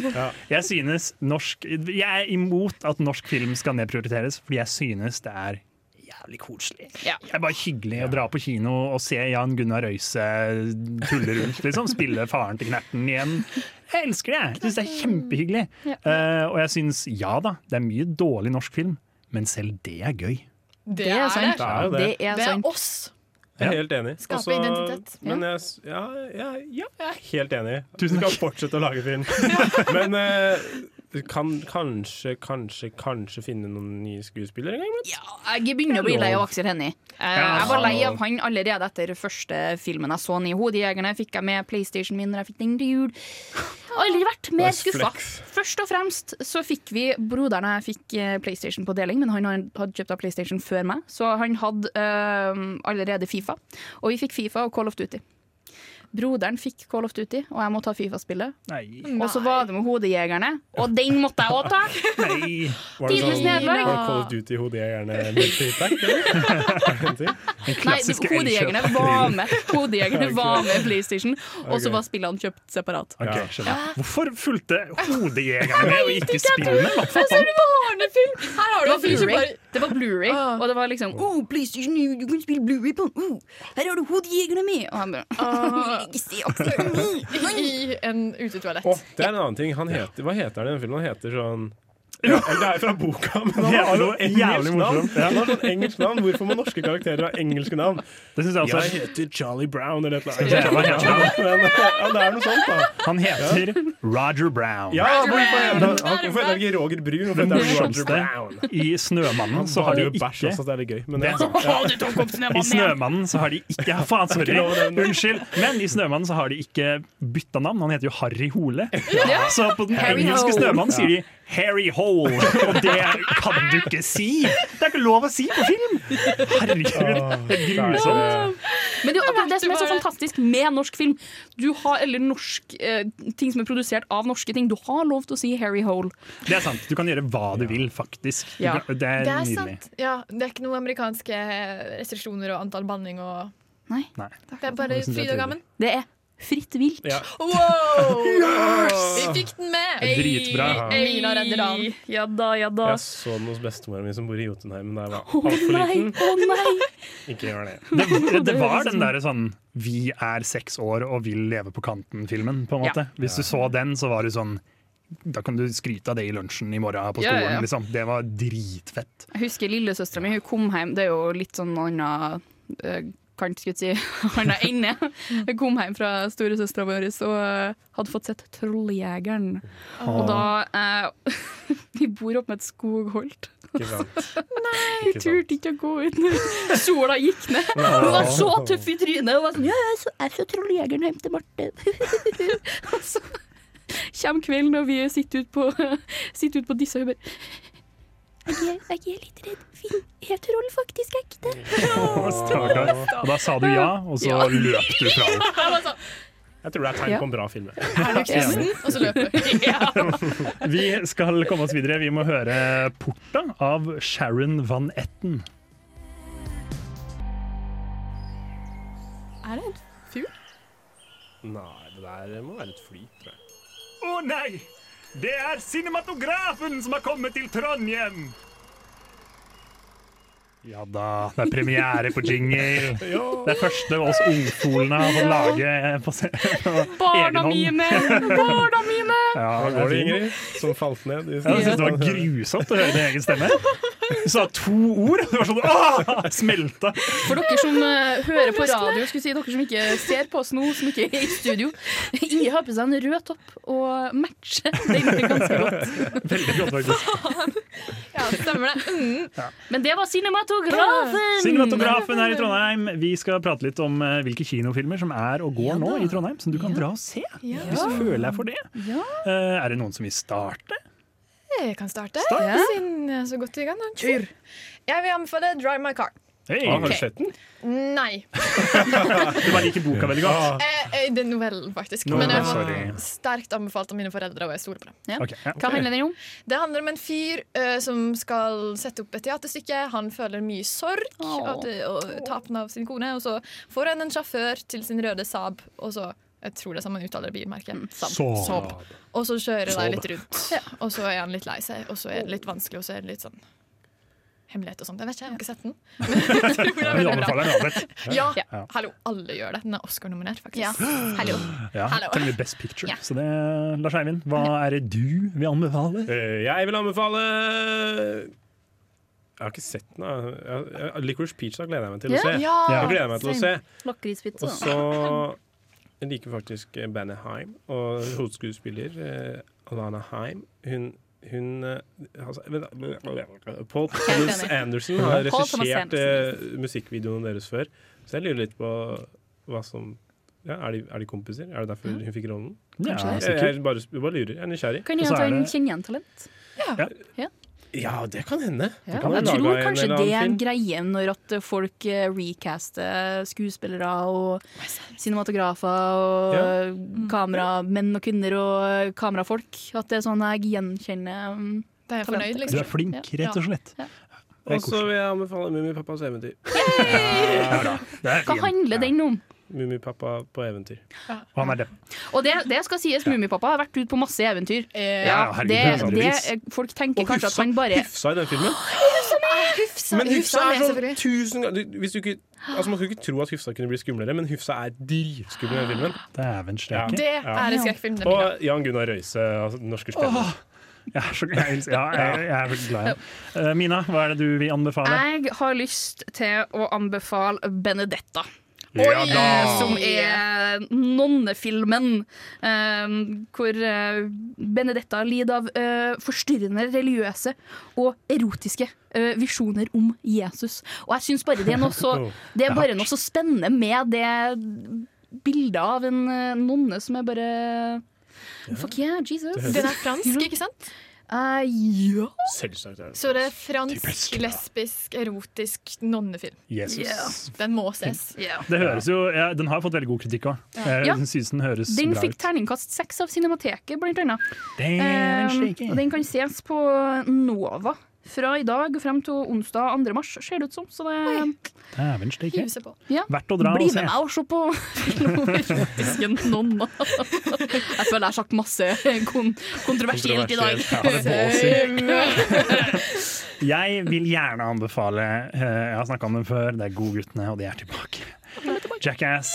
Jeg synes norsk Jeg er imot at norsk film skal nedprioriteres, fordi jeg synes det er jævlig koselig. Det er bare hyggelig å dra på kino og se Jan Gunnar Røise tulle rundt. Liksom, spille faren til Knerten igjen. Jeg elsker det! Jeg synes det er kjempehyggelig. Eh, og jeg synes, ja da, det er mye dårlig norsk film, men selv det er gøy.
Det er sant.
Det er jo det.
Det er oss.
Jeg er helt enig.
Skape
Også-
identitet.
Men jeg, s- ja, ja, ja, jeg er helt enig. Du skal fortsette å lage film. Men eh, du kan kanskje, kanskje, kanskje finne noen nye skuespillere en gang iblant?
Jeg begynner å bli lei av Aksel Hennie. Eh, Jeg var lei av
sant.
han allerede etter første filmen jeg så han i. 'Hodejegerne' fikk jeg med PlayStation min når jeg fikk den til jul. Aldri vært mer
Nice
skuffa.
flex.
Først og fremst så fikk vi Broderen og jeg fikk eh, PlayStation på deling, men han had- hadde kjøpt av PlayStation før meg, så han hadde eh, allerede Fifa. Og vi fikk Fifa og Call of Duty. Broderen fikk Call of Duty, og jeg måtte ha Fifa-spillet. Og så var det med Hodejegerne, og den måtte jeg òg ta!
Nei.
Var det
Tidenes
sånn
nederlag.
var det Call of Duty-hodet jeg gjerne meldte i takt, eller?
Nei, de- hodejegerne var med Hodejegerne
[laughs] Ok.
var med i PlayStation, og så
Ok.
var spillene kjøpt separat.
Ok, skjønner. Hvorfor fulgte hodejegerne med og ikke spillene? Hva
Men så er sånn-
faen?
det barnefilm! Her
har
det
du
var
en fyr som
Blu-ray.
bare-
Det var Blu-ray, og det var liksom oh, PlayStation, du kan spille Blu-ray på den. oh, Her har du hodejegerne med! Og han bare [laughs]
Ah.
Ikke si Aksel Hennie!
I en utetoalett.
Å, det er en annen ting. Han heter, hva heter han i den filmen? Han heter sånn ja, eller Det er jo fra boka, men han
Det er
har jo
noe
engelsk
jævlig
navn.
morsomt. Ja.
Han har sånn engelsk navn. Hvorfor må norske karakterer ha engelske navn?
Det synes jeg også er-
heter Charlie Brown eller et
Skal jeg si hva
Men, eh,
han heter?
ja, det er noe sånt, da.
Han heter Roger Brown.
Ja, hvorfor heter han- han- hvorfor heter han ikke Roger Brun? Hvorfor
Det
heter han Roger
morsomste
Brown?
i 'Snømannen' så
Han
har de
bader
jo
jo bæsj altså.
ikke
også, så det er litt gøy, men-
Det er sant.
Å,
Ja. I 'Snømannen' så har de ikke Ja, Faen, sorry!
Ikke lov å nevne.
Unnskyld. Men i 'Snømannen' så har de ikke bytta navn. Han heter jo Harry Hole.
Ja.
Så på den
Harry
engelske
Hole.
'Snømannen' sier de
Ja.
'Harry Hole', og det kan du ikke si! Det er ikke lov å si på film! Herregud, det er grusomt.
Men det er jo akkurat det som er så fantastisk med norsk film. Du har, Eller norsk eh, ting som er produsert av norske ting. Du har lov til å si Harry Hole.
Det er sant. Du kan gjøre hva du vil, faktisk. Du
Ja.
kan- Det er
Det er
nydelig.
sant. Ja, det er ikke noen amerikanske eh, restriksjoner og antall banning og
Nei.
Det er bare
Det synes jeg
fryd
er
og gammen.
Det er fritt vilt.
Wow!
[laughs] Yes!
Vi fikk den med!
Det er dritbra.
Ei, Mila redder dagen.
Ja da, ja da.
Jeg så den hos bestemora mi som bor i Jotunheimen da jeg var
Å
altfor
nei,
liten.
å nei!
[laughs] Ikke gjør det.
Det, det var den derre sånn Vi er seks år og vil leve på kanten-filmen, på en måte.
Ja.
Hvis du så den, så var du sånn Da kan du skryte av det i lunsjen i morgen på
Ja,
skolen,
ja, ja.
liksom. Det var dritfett.
Jeg husker lillesøstera mi, hun kom hjem Det er jo litt sånn anna eh, kant, skulle jeg si. [laughs] Anna ende. Hun kom hjem fra storesøstera vår og eh, hadde fått sett 'Trolljegeren'.
Ah.
Og da eh, [laughs] Vi bor oppe med et skogholt.
Ikke sant.
Nei,
Ikke
jeg turte ikke å gå ut når [laughs] sola gikk ned. Hun var så tøff i trynet. Hun var sånn, ja, jeg er så- jeg er så trolljegeren hjem til Marte. [laughs] Og så kommer kvelden, og vi sitter ute på, sitter ut på disse, og hun bare jeg er, jeg er litt redd. Finn, er troll faktisk ekte?
Stakkar. Og da sa du ja, og så
Ja.
løp du fra henne.
Jeg tror det er tegn på en bra film.
Er du kristen? altså. Og så løper hun.
Vi skal komme oss videre. Vi må høre 'Porta' av Sharon Van Etten.
Er det en fugl?
Nei, det der må være et fly, tror jeg.
Å nei! Det er cinematografen som har kommet til Trondheim! Ja da, det er premiere på [laughs] jingle. Det er første av oss ungfolene har fått lage eh, på, se- på egen
Barna
hånd.
mine! Barna mine!
Ja,
Hvordan
det er
går det,
fint.
Ingrid? Som falt ned? i-
Jeg synes det var grusomt å høre din egen stemme. sa to ord! Det var sånn ah! Smelta.
For dere som eh, hører på radio, skulle si dere som ikke ser på oss nå, som ikke er i studio. Ingrid har på seg en rød topp og matcher den ganske godt.
Veldig godt, faktisk.
Ja, stemmer det.
Mm.
Men det var cinematografen!
Cinematografen her i Trondheim. Vi skal prate litt om eh, hvilke kinofilmer som er og går nå i Trondheim, som du kan dra og se.
Ja.
Hvis du føler deg for det. Eh, Er det noen som vil starte?
Jeg kan starte,
Start. Ja.
siden jeg er så godt i gang. da. Jeg vil anbefale 'Drive My Car'.
Hei.
Ah, har du sett
den?
Nei.
Du bare liker boka veldig
Ah.
godt.
Eh, eh, Det er novellen, faktisk.
Novellen,
Men jeg var
sorry.
sterkt anbefalt av mine foreldre, og jeg stoler på dem.
Ok, ja.
Hva handler den om?
Det handler om en fyr eh, som skal sette opp et teaterstykke. Han føler mye sorg
Åh.
og, og tapen av sin kone, og så får han en sjåfør til sin røde Saab, og så jeg tror det er sånn man uttaler bilmerket.
Saab.
Saab. Og så kjører de
Saab.
litt rundt, og så er han litt lei seg, og så er det litt vanskelig, og så er det litt sånn hemmelighet og sånt. Jeg vet ikke, jeg har ikke sett [laughs] den. Men jeg tror det er
Vi
veldig
anbefaler den uansett.
bra. Ja,
Ja.
hallo, alle gjør det. Den er Oscar-nominert, faktisk.
Ja.
Hallo.
Ja,
Hallo.
til og med Best Picture.
Ja.
Så det, Lars Eivind, hva er det du vil anbefale?
Eh, Jeg vil anbefale Jeg har ikke sett den. da. Jeg- jeg- Licorice Pizza gleder jeg meg til å se. Jeg gleder meg til å se.
Lakrispizza.
Og så jeg liker faktisk bandet Heim, og hovedskuespiller eh, Alana Heim. Hun hun eh, altså, men- men- Paul Thomas
enig.
Anderson har
Paul Thomas
regissert
Anderson.
eh, musikkvideoen deres før, så jeg lurer litt på hva som ja, er, de, er de kompiser? Er det derfor hun fikk rollen?
Ja, Kanskje.
jeg, jeg bare, jeg bare lurer. Jeg er nysgjerrig.
Kan
Og
jeg
så
ta
er
en
det-
kjenneigjen-talent?
Ja, det kan hende.
Ja,
Det kan
jeg
hende
tror
laget en
kanskje
eller
det er
annen
en
film.
greie når at folk eh, recaster skuespillere og cinematografer og
Ja.
eh,
Mm.
kameramenn og kvinner og kamerafolk. At det er sånn jeg gjenkjenner um,
Da er jeg fornøyd, liksom.
Du er flink, rett og slett. Det er
Og så vil jeg anbefale Mummipappas eventyr.
Ja, da. Det er
Hva
fin.
handler den om?
Mummipappa på eventyr.
Og han er det.
Og det, det skal sies, Mummipappa har vært ute på masse eventyr.
Ja, herregud,
det,
hundrevis.
det, eh, folk tenker kanskje at han bare
Hufsa i den filmen.
Ah,
Hufsa,
Men Hufsa er
med,
sånn tusen ganger du- hvis du ikke, altså Man skulle ikke tro at Hufsa kunne bli skumlere, men Hufsa er dritskummel i den filmen.
Dæven
Ja.
steike.
Det er en skrekkfilm. det blir det.
Og Jan Gunnar Røise, altså, den norske
Åh.
stemmen.
Jeg er så jeg, elsker- ja, jeg, jeg er veldig glad i ham. Eh, Mina, hva er det du vil anbefale?
Jeg har lyst til å anbefale Benedetta.
Ja da.
eh, Som er nonnefilmen, eh, hvor eh, Benedetta lider av eh, forstyrrende religiøse og erotiske eh, visjoner om Jesus. Og jeg syns bare det er noe
[laughs]
så,
Oh,
det er bare noe så spennende med det bildet av en eh, nonne som er bare Fuck yeah, Jesus.
Den er fransk, ikke sant?
Eh, ja.
Selvsagt er det
Så det er fransk, lesbisk, erotisk nonnefilm.
Jesus.
Den må ses.
Det høres jo, ja, den har fått veldig god kritikk òg.
Ja.
Jeg synes den høres
Den
bra
fikk
ut.
terningkast seks av Cinemateket, blant annet.
Dæven
Eh,
steike.
og den kan ses på Nova fra i dag frem til onsdag 2. mars, ser det ut som. Så det
Dæven steike.
Hive seg på. Ja.
Verdt å dra
Bli
og se.
med meg og se på filmoverotisken Nonna. Jeg føler jeg har sagt masse kon kontroversielt i dag.
Kontroversielt, Jeg vil gjerne anbefale eh, Jeg har snakka om den før, det er Godguttene, og de er tilbake. Jackass.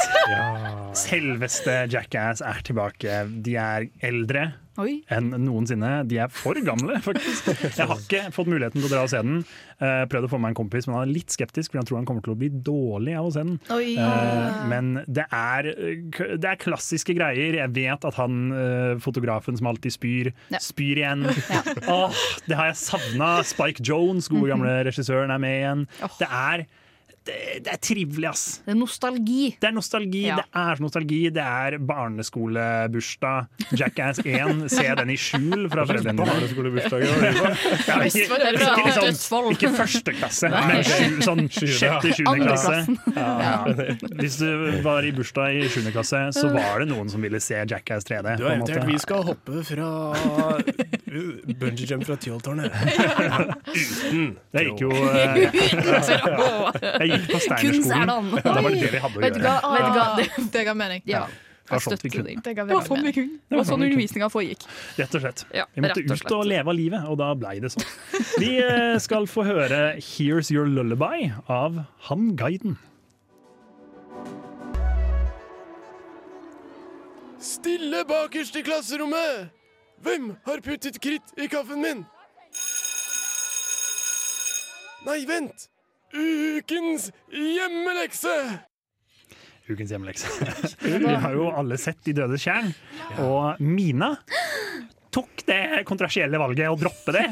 Selveste Jackass er tilbake. De er eldre
Oi.
enn noensinne. De er for gamle, [laughs] faktisk. Jeg har ikke fått muligheten til å dra og se den. Eh, Prøvd å få meg en kompis, men han er litt skeptisk, for han tror han kommer til å bli dårlig av å se den.
Oi.
Eh, Men det er, eh, det er klassiske greier. Jeg vet at han eh, fotografen som alltid spyr,
Ja.
spyr igjen. Åh, det har jeg savna. Spike Jones, gode gamle regissøren, er med igjen. Det er det, det er trivelig, ass.
Det er nostalgi.
Det er nostalgi,
Ja.
det er nostalgi. Det er barneskolebursdag. Jackass 1, se den i skjul fra foreldrene dine.
Barneskolebursdager, hva er det
Ja, ikke,
Det er [laughs]
ikke,
bra.
liksom, ikke første klasse,
Nei.
men sju, sånn sjette-sjuende
Andre
klasse.
klassen.
Ja. Hvis du var i bursdag i sjuende klasse, så var det noen som ville se Jackass 3D.
Du
på
har
en måte.
invitert Vi skal hoppe [laughs] fra bungee jump fra Tyholttårnet. Uten
Jeg gikk jo eh,
[laughs]
Jeg gikk på
Kunst er det
Steinerskolen.
annet.
Da var det det vi hadde å
Vet du
gjøre.
hva? Vet du hva?
Ah, Det ga mening.
Ja.
Det var sånt vi kunne.
Det
Det ga
var sånn
veldig
vi
mening.
kunne. Det var sånn undervisninga foregikk.
Rett og slett.
Ja,
Vi måtte
rett og
ut og leve av livet, og da blei det sånn. Vi eh, skal få høre 'Here's Your Lullaby' av Han Guiden.
Stille bakerst i klasserommet! Hvem har puttet kritt i kaffen min?
Nei, vent! Ukens hjemmelekse!
Ukens hjemmelekse. Vi har jo alle sett De dødes tjern, og Mina tok det kontroversielle valget å droppe
[laughs]
det.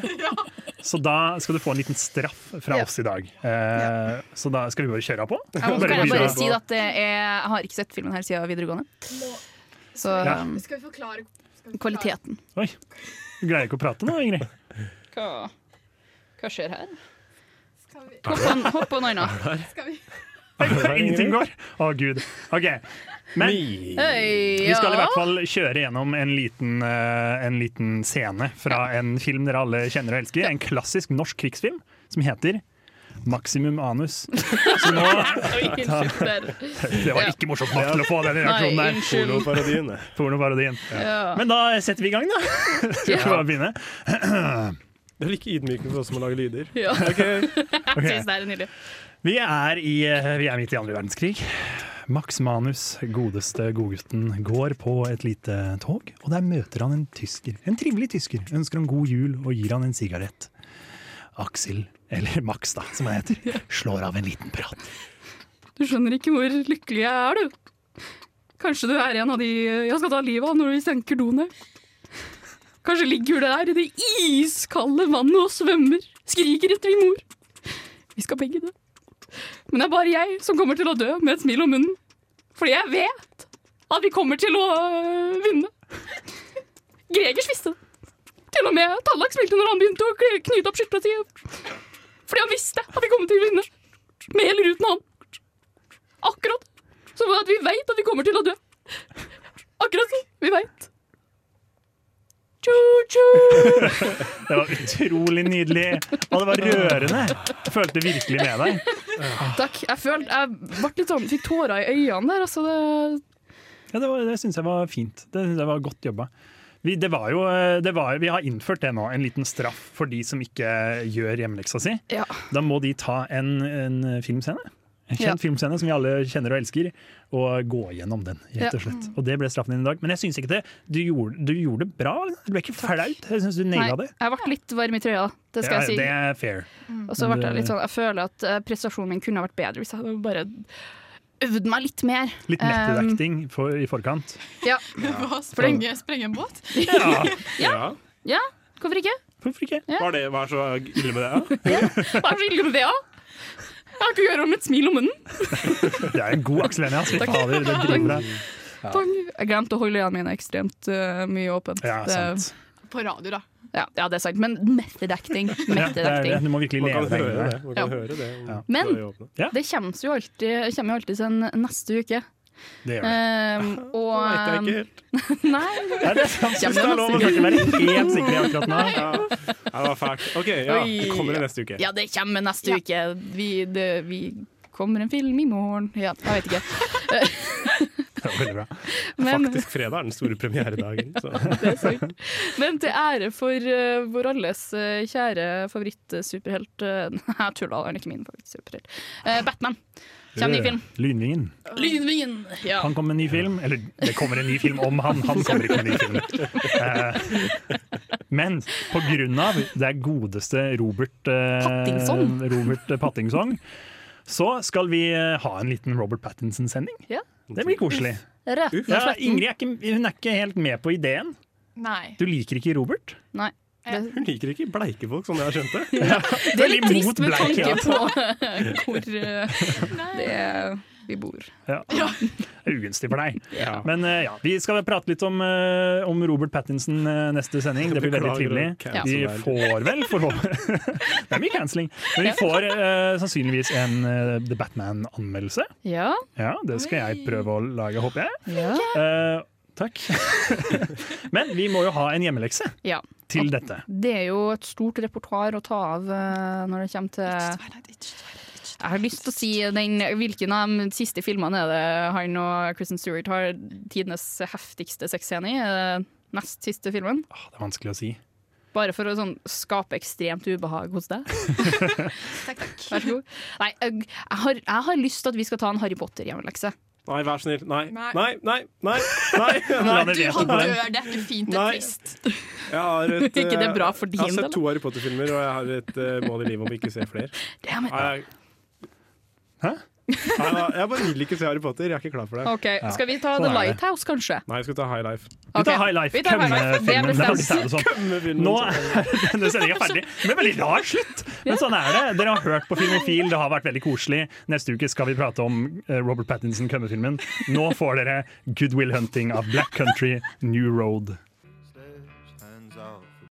Så da skal du få en liten straff fra oss i dag. Eh, Så da skal vi bare kjøre på.
Jeg må,
Bare
kan jeg bare
videre.
si at det er, jeg har ikke sett filmen her siden videregående. Så
Ja.
um,
Skal vi forklare
kvaliteten.
Oi, du greier ikke å prate nå,
[laughs]
Ingrid.
Hva, skjer her?
Hopp
på- hopp på noina.
Skal vi
Ingenting går! Å, gud. OK. Men
Øy,
vi skal i
ja.
hvert fall kjøre gjennom en liten, eh, en liten scene fra en film dere alle kjenner og elsker. En klassisk norsk krigsfilm som heter Maximum anus. Så nå
Oi, unnskyld, der.
Det var ikke morsomt nok til å få den
Nei,
reaksjonen sånn der.
unnskyld. Pornoparodien,
Pornoparodien.
Ja.
Men da setter vi i gang, da.
[laughs]
Skal vi bare begynne?
Det er like ydmykende for oss som å lage lyder.
Ja.
Ok.
Jeg synes det er nydelig.
Vi er, i, eh, vi er midt i andre verdenskrig. Max Manus, godeste godgutten, går på et lite tog, og der møter han en tysker. En trivelig tysker. Ønsker han god jul og gir han en sigarett. Aksel, eller Max da, som han heter, slår av en liten prat.
Du skjønner ikke hvor lykkelig jeg er, du. Kanskje du er en av de eh, jeg skal ta livet av når de senker doene. Kanskje ligger du der i det iskalde vannet og svømmer, skriker etter din mor. Vi skal begge dø. Men det er bare jeg som kommer til å dø med et smil om munnen. Fordi jeg vet at vi kommer til å øh, vinne. Gregers visste det. Til og med Tallak smilte når han begynte å kn- knyte opp skytterpartiet. Fordi han visste at vi kom til å vinne. Med eller uten han akkurat som at vi veit at vi kommer til å dø. Akkurat som vi veit. Tjo-tjo!
Det var utrolig nydelig, og det var rørende. Jeg følte virkelig med deg.
[laughs] Takk. Jeg følte jeg ble litt sånn, fikk tårer i øynene der. Altså det,
Ja, det, var- det syns jeg var fint. Det synes jeg var Godt jobba. Vi, det var jo, eh, det var, vi har innført det nå, en liten straff for de som ikke gjør hjemmeleksa si.
Ja.
Da må de ta en, en filmscene. En kjent
Ja.
filmscene som vi alle kjenner og elsker, og gå gjennom den. rett
Ja.
og slett. Og det ble straffen din i dag. Men jeg syns ikke det. Du gjorde, du gjorde det bra. Du ble ikke flaut. Jeg syns du naila
Nei,
det.
jeg ble litt varm i trøya, det skal
Ja,
jeg si.
Det er fair.
Og så
Men
ble jeg
det-
litt sånn, jeg føler at eh, prestasjonen min kunne ha vært bedre hvis jeg hadde bare øvd meg litt mer.
Litt
Um,
method-acting for, i forkant.
Ja.
Hva, sprenge, sprenge en båt?
Ja.
Ja.
ja, hvorfor ikke?
Hvorfor ikke?
Hva er det, hva er så ille med det? da?
hva er så ille med det, da? Jeg har ikke å gjøre med et smil om munnen.
Det er en god Aksel Hennie, ass. Fy
Takk.
fader, det driver deg.
Pang. Jeg glemte å holde øynene mine ekstremt eh, mye åpent.
Ja, sant.
På radio, da. Ja, ja, det er sant. Men method acting.
[laughs] Ja,
Method
det er det.
acting.
Du må virkelig
Man kan
leve deg
høre
inn i
det. Man kan
Ja.
høre det. om
Ja.
Men-
døra er åpne.
Det kommer jo alltid, kommer jo alltid sen neste uke.
Det gjør
Um, og
vet
[laughs]
jeg
Nei.
Ja, det er sant.
Ja,
Jeg
men
synes det er lov å
neste
ikke
uke.
være helt sikker akkurat nå.
Ja. Ja, det var fælt. OK, ja. Det kommer i neste uke.
Ja, det kommer neste
Ja.
uke. Vi, det, vi kommer en film i morgen. Ja, jeg vet ikke.
Det var veldig bra.
Men-
Faktisk fredag er den store premieredagen. Så. [laughs]
Men til ære for eh, vår alles eh, kjære favorittsuperhelt eh, [laughs] Nei, jeg tuller, han er ikke min favorittsuperhelt. Eh, Batman. Kommer ny film.
Lynvingen.
Lynvingen! Ja.
Han kommer med en ny film. Eller det kommer en ny film om han, han kommer ikke med en ny film. Eh, men på grunn av det er godeste Robert eh,
Pattinson.
Robert Pattinson, så skal vi eh, ha en liten Robert Pattinson-sending.
Ja.
Det blir koselig.
Rett og
Ja,
slett.
Ingrid er ikke, hun er ikke helt med på ideen.
Nei.
Du liker ikke Robert?
Nei.
Hun liker ikke bleike folk, sånn jeg har skjønt det.
Det er litt
Veldig
trist med
mot Blackie,
tanke på
altså.
hvor [laughs] eh, det er vi bor. [laughs]
Ja. Det er Ugunstig for deg. Men eh, ja, vi skal prate litt om, eh, om Robert Pattinson eh, neste sending. Det blir veldig
Beklager
trivelig.
å cancele
Vi
deg.
får vel forhåpentlig [laughs] Det er mye cancelling. Men vi får eh, sannsynligvis en eh, The Batman-anmeldelse.
Ja.
Ja, det skal jeg prøve å lage, håper jeg.
Ja.
Eh, takk. [laughs] Men vi må jo ha en hjemmelekse
ja.
til dette.
Det er jo et stort repertoar å ta av eh, når det kommer til Jeg har lyst til å si den, hvilken av de siste filmene er det han og Kristen Stewart har tidenes heftigste sexscene i? Er det Nest siste filmen?
Ah, Det er vanskelig å si.
Bare for å sånn, skape ekstremt ubehag hos deg. Vær så god. Nei, jeg jeg har, jeg har lyst til at vi skal ta en Harry Potter-hjemmelekse.
Nei, vær snill. Nei. Nei,
Nei.
nei, nei. nei,
Nei, du han dør. Det er ikke fint, det er
Nei.
trist.
Jeg har et,
[laughs]
eh,
Ikke det er bra for
Jeg har
din del,
sett
da?
to Harry Potter-filmer, og jeg har et eh, mål i livet om ikke å se flere.
Damn it.
Nei, jeg- Hæ? Nei, nei, jeg bare vil ikke se Harry Potter. Jeg er ikke klar for det.
OK, skal vi ta The Lighthouse, kanskje?
Nei, vi skal ta High Life.
Ok, vi tar High Life. Det
Kømmefilmen,
bestemmes.
det er sånn.
liksom Nå er [laughs] denne sendinga ferdig med veldig rar slutt! Men sånn er det. Dere har hørt på Filmofil, det har vært veldig koselig. Neste uke skal vi prate om eh, Robert Pattinson, kømmefilmen. Nå får dere Good Will Hunting av Black Country, New Road.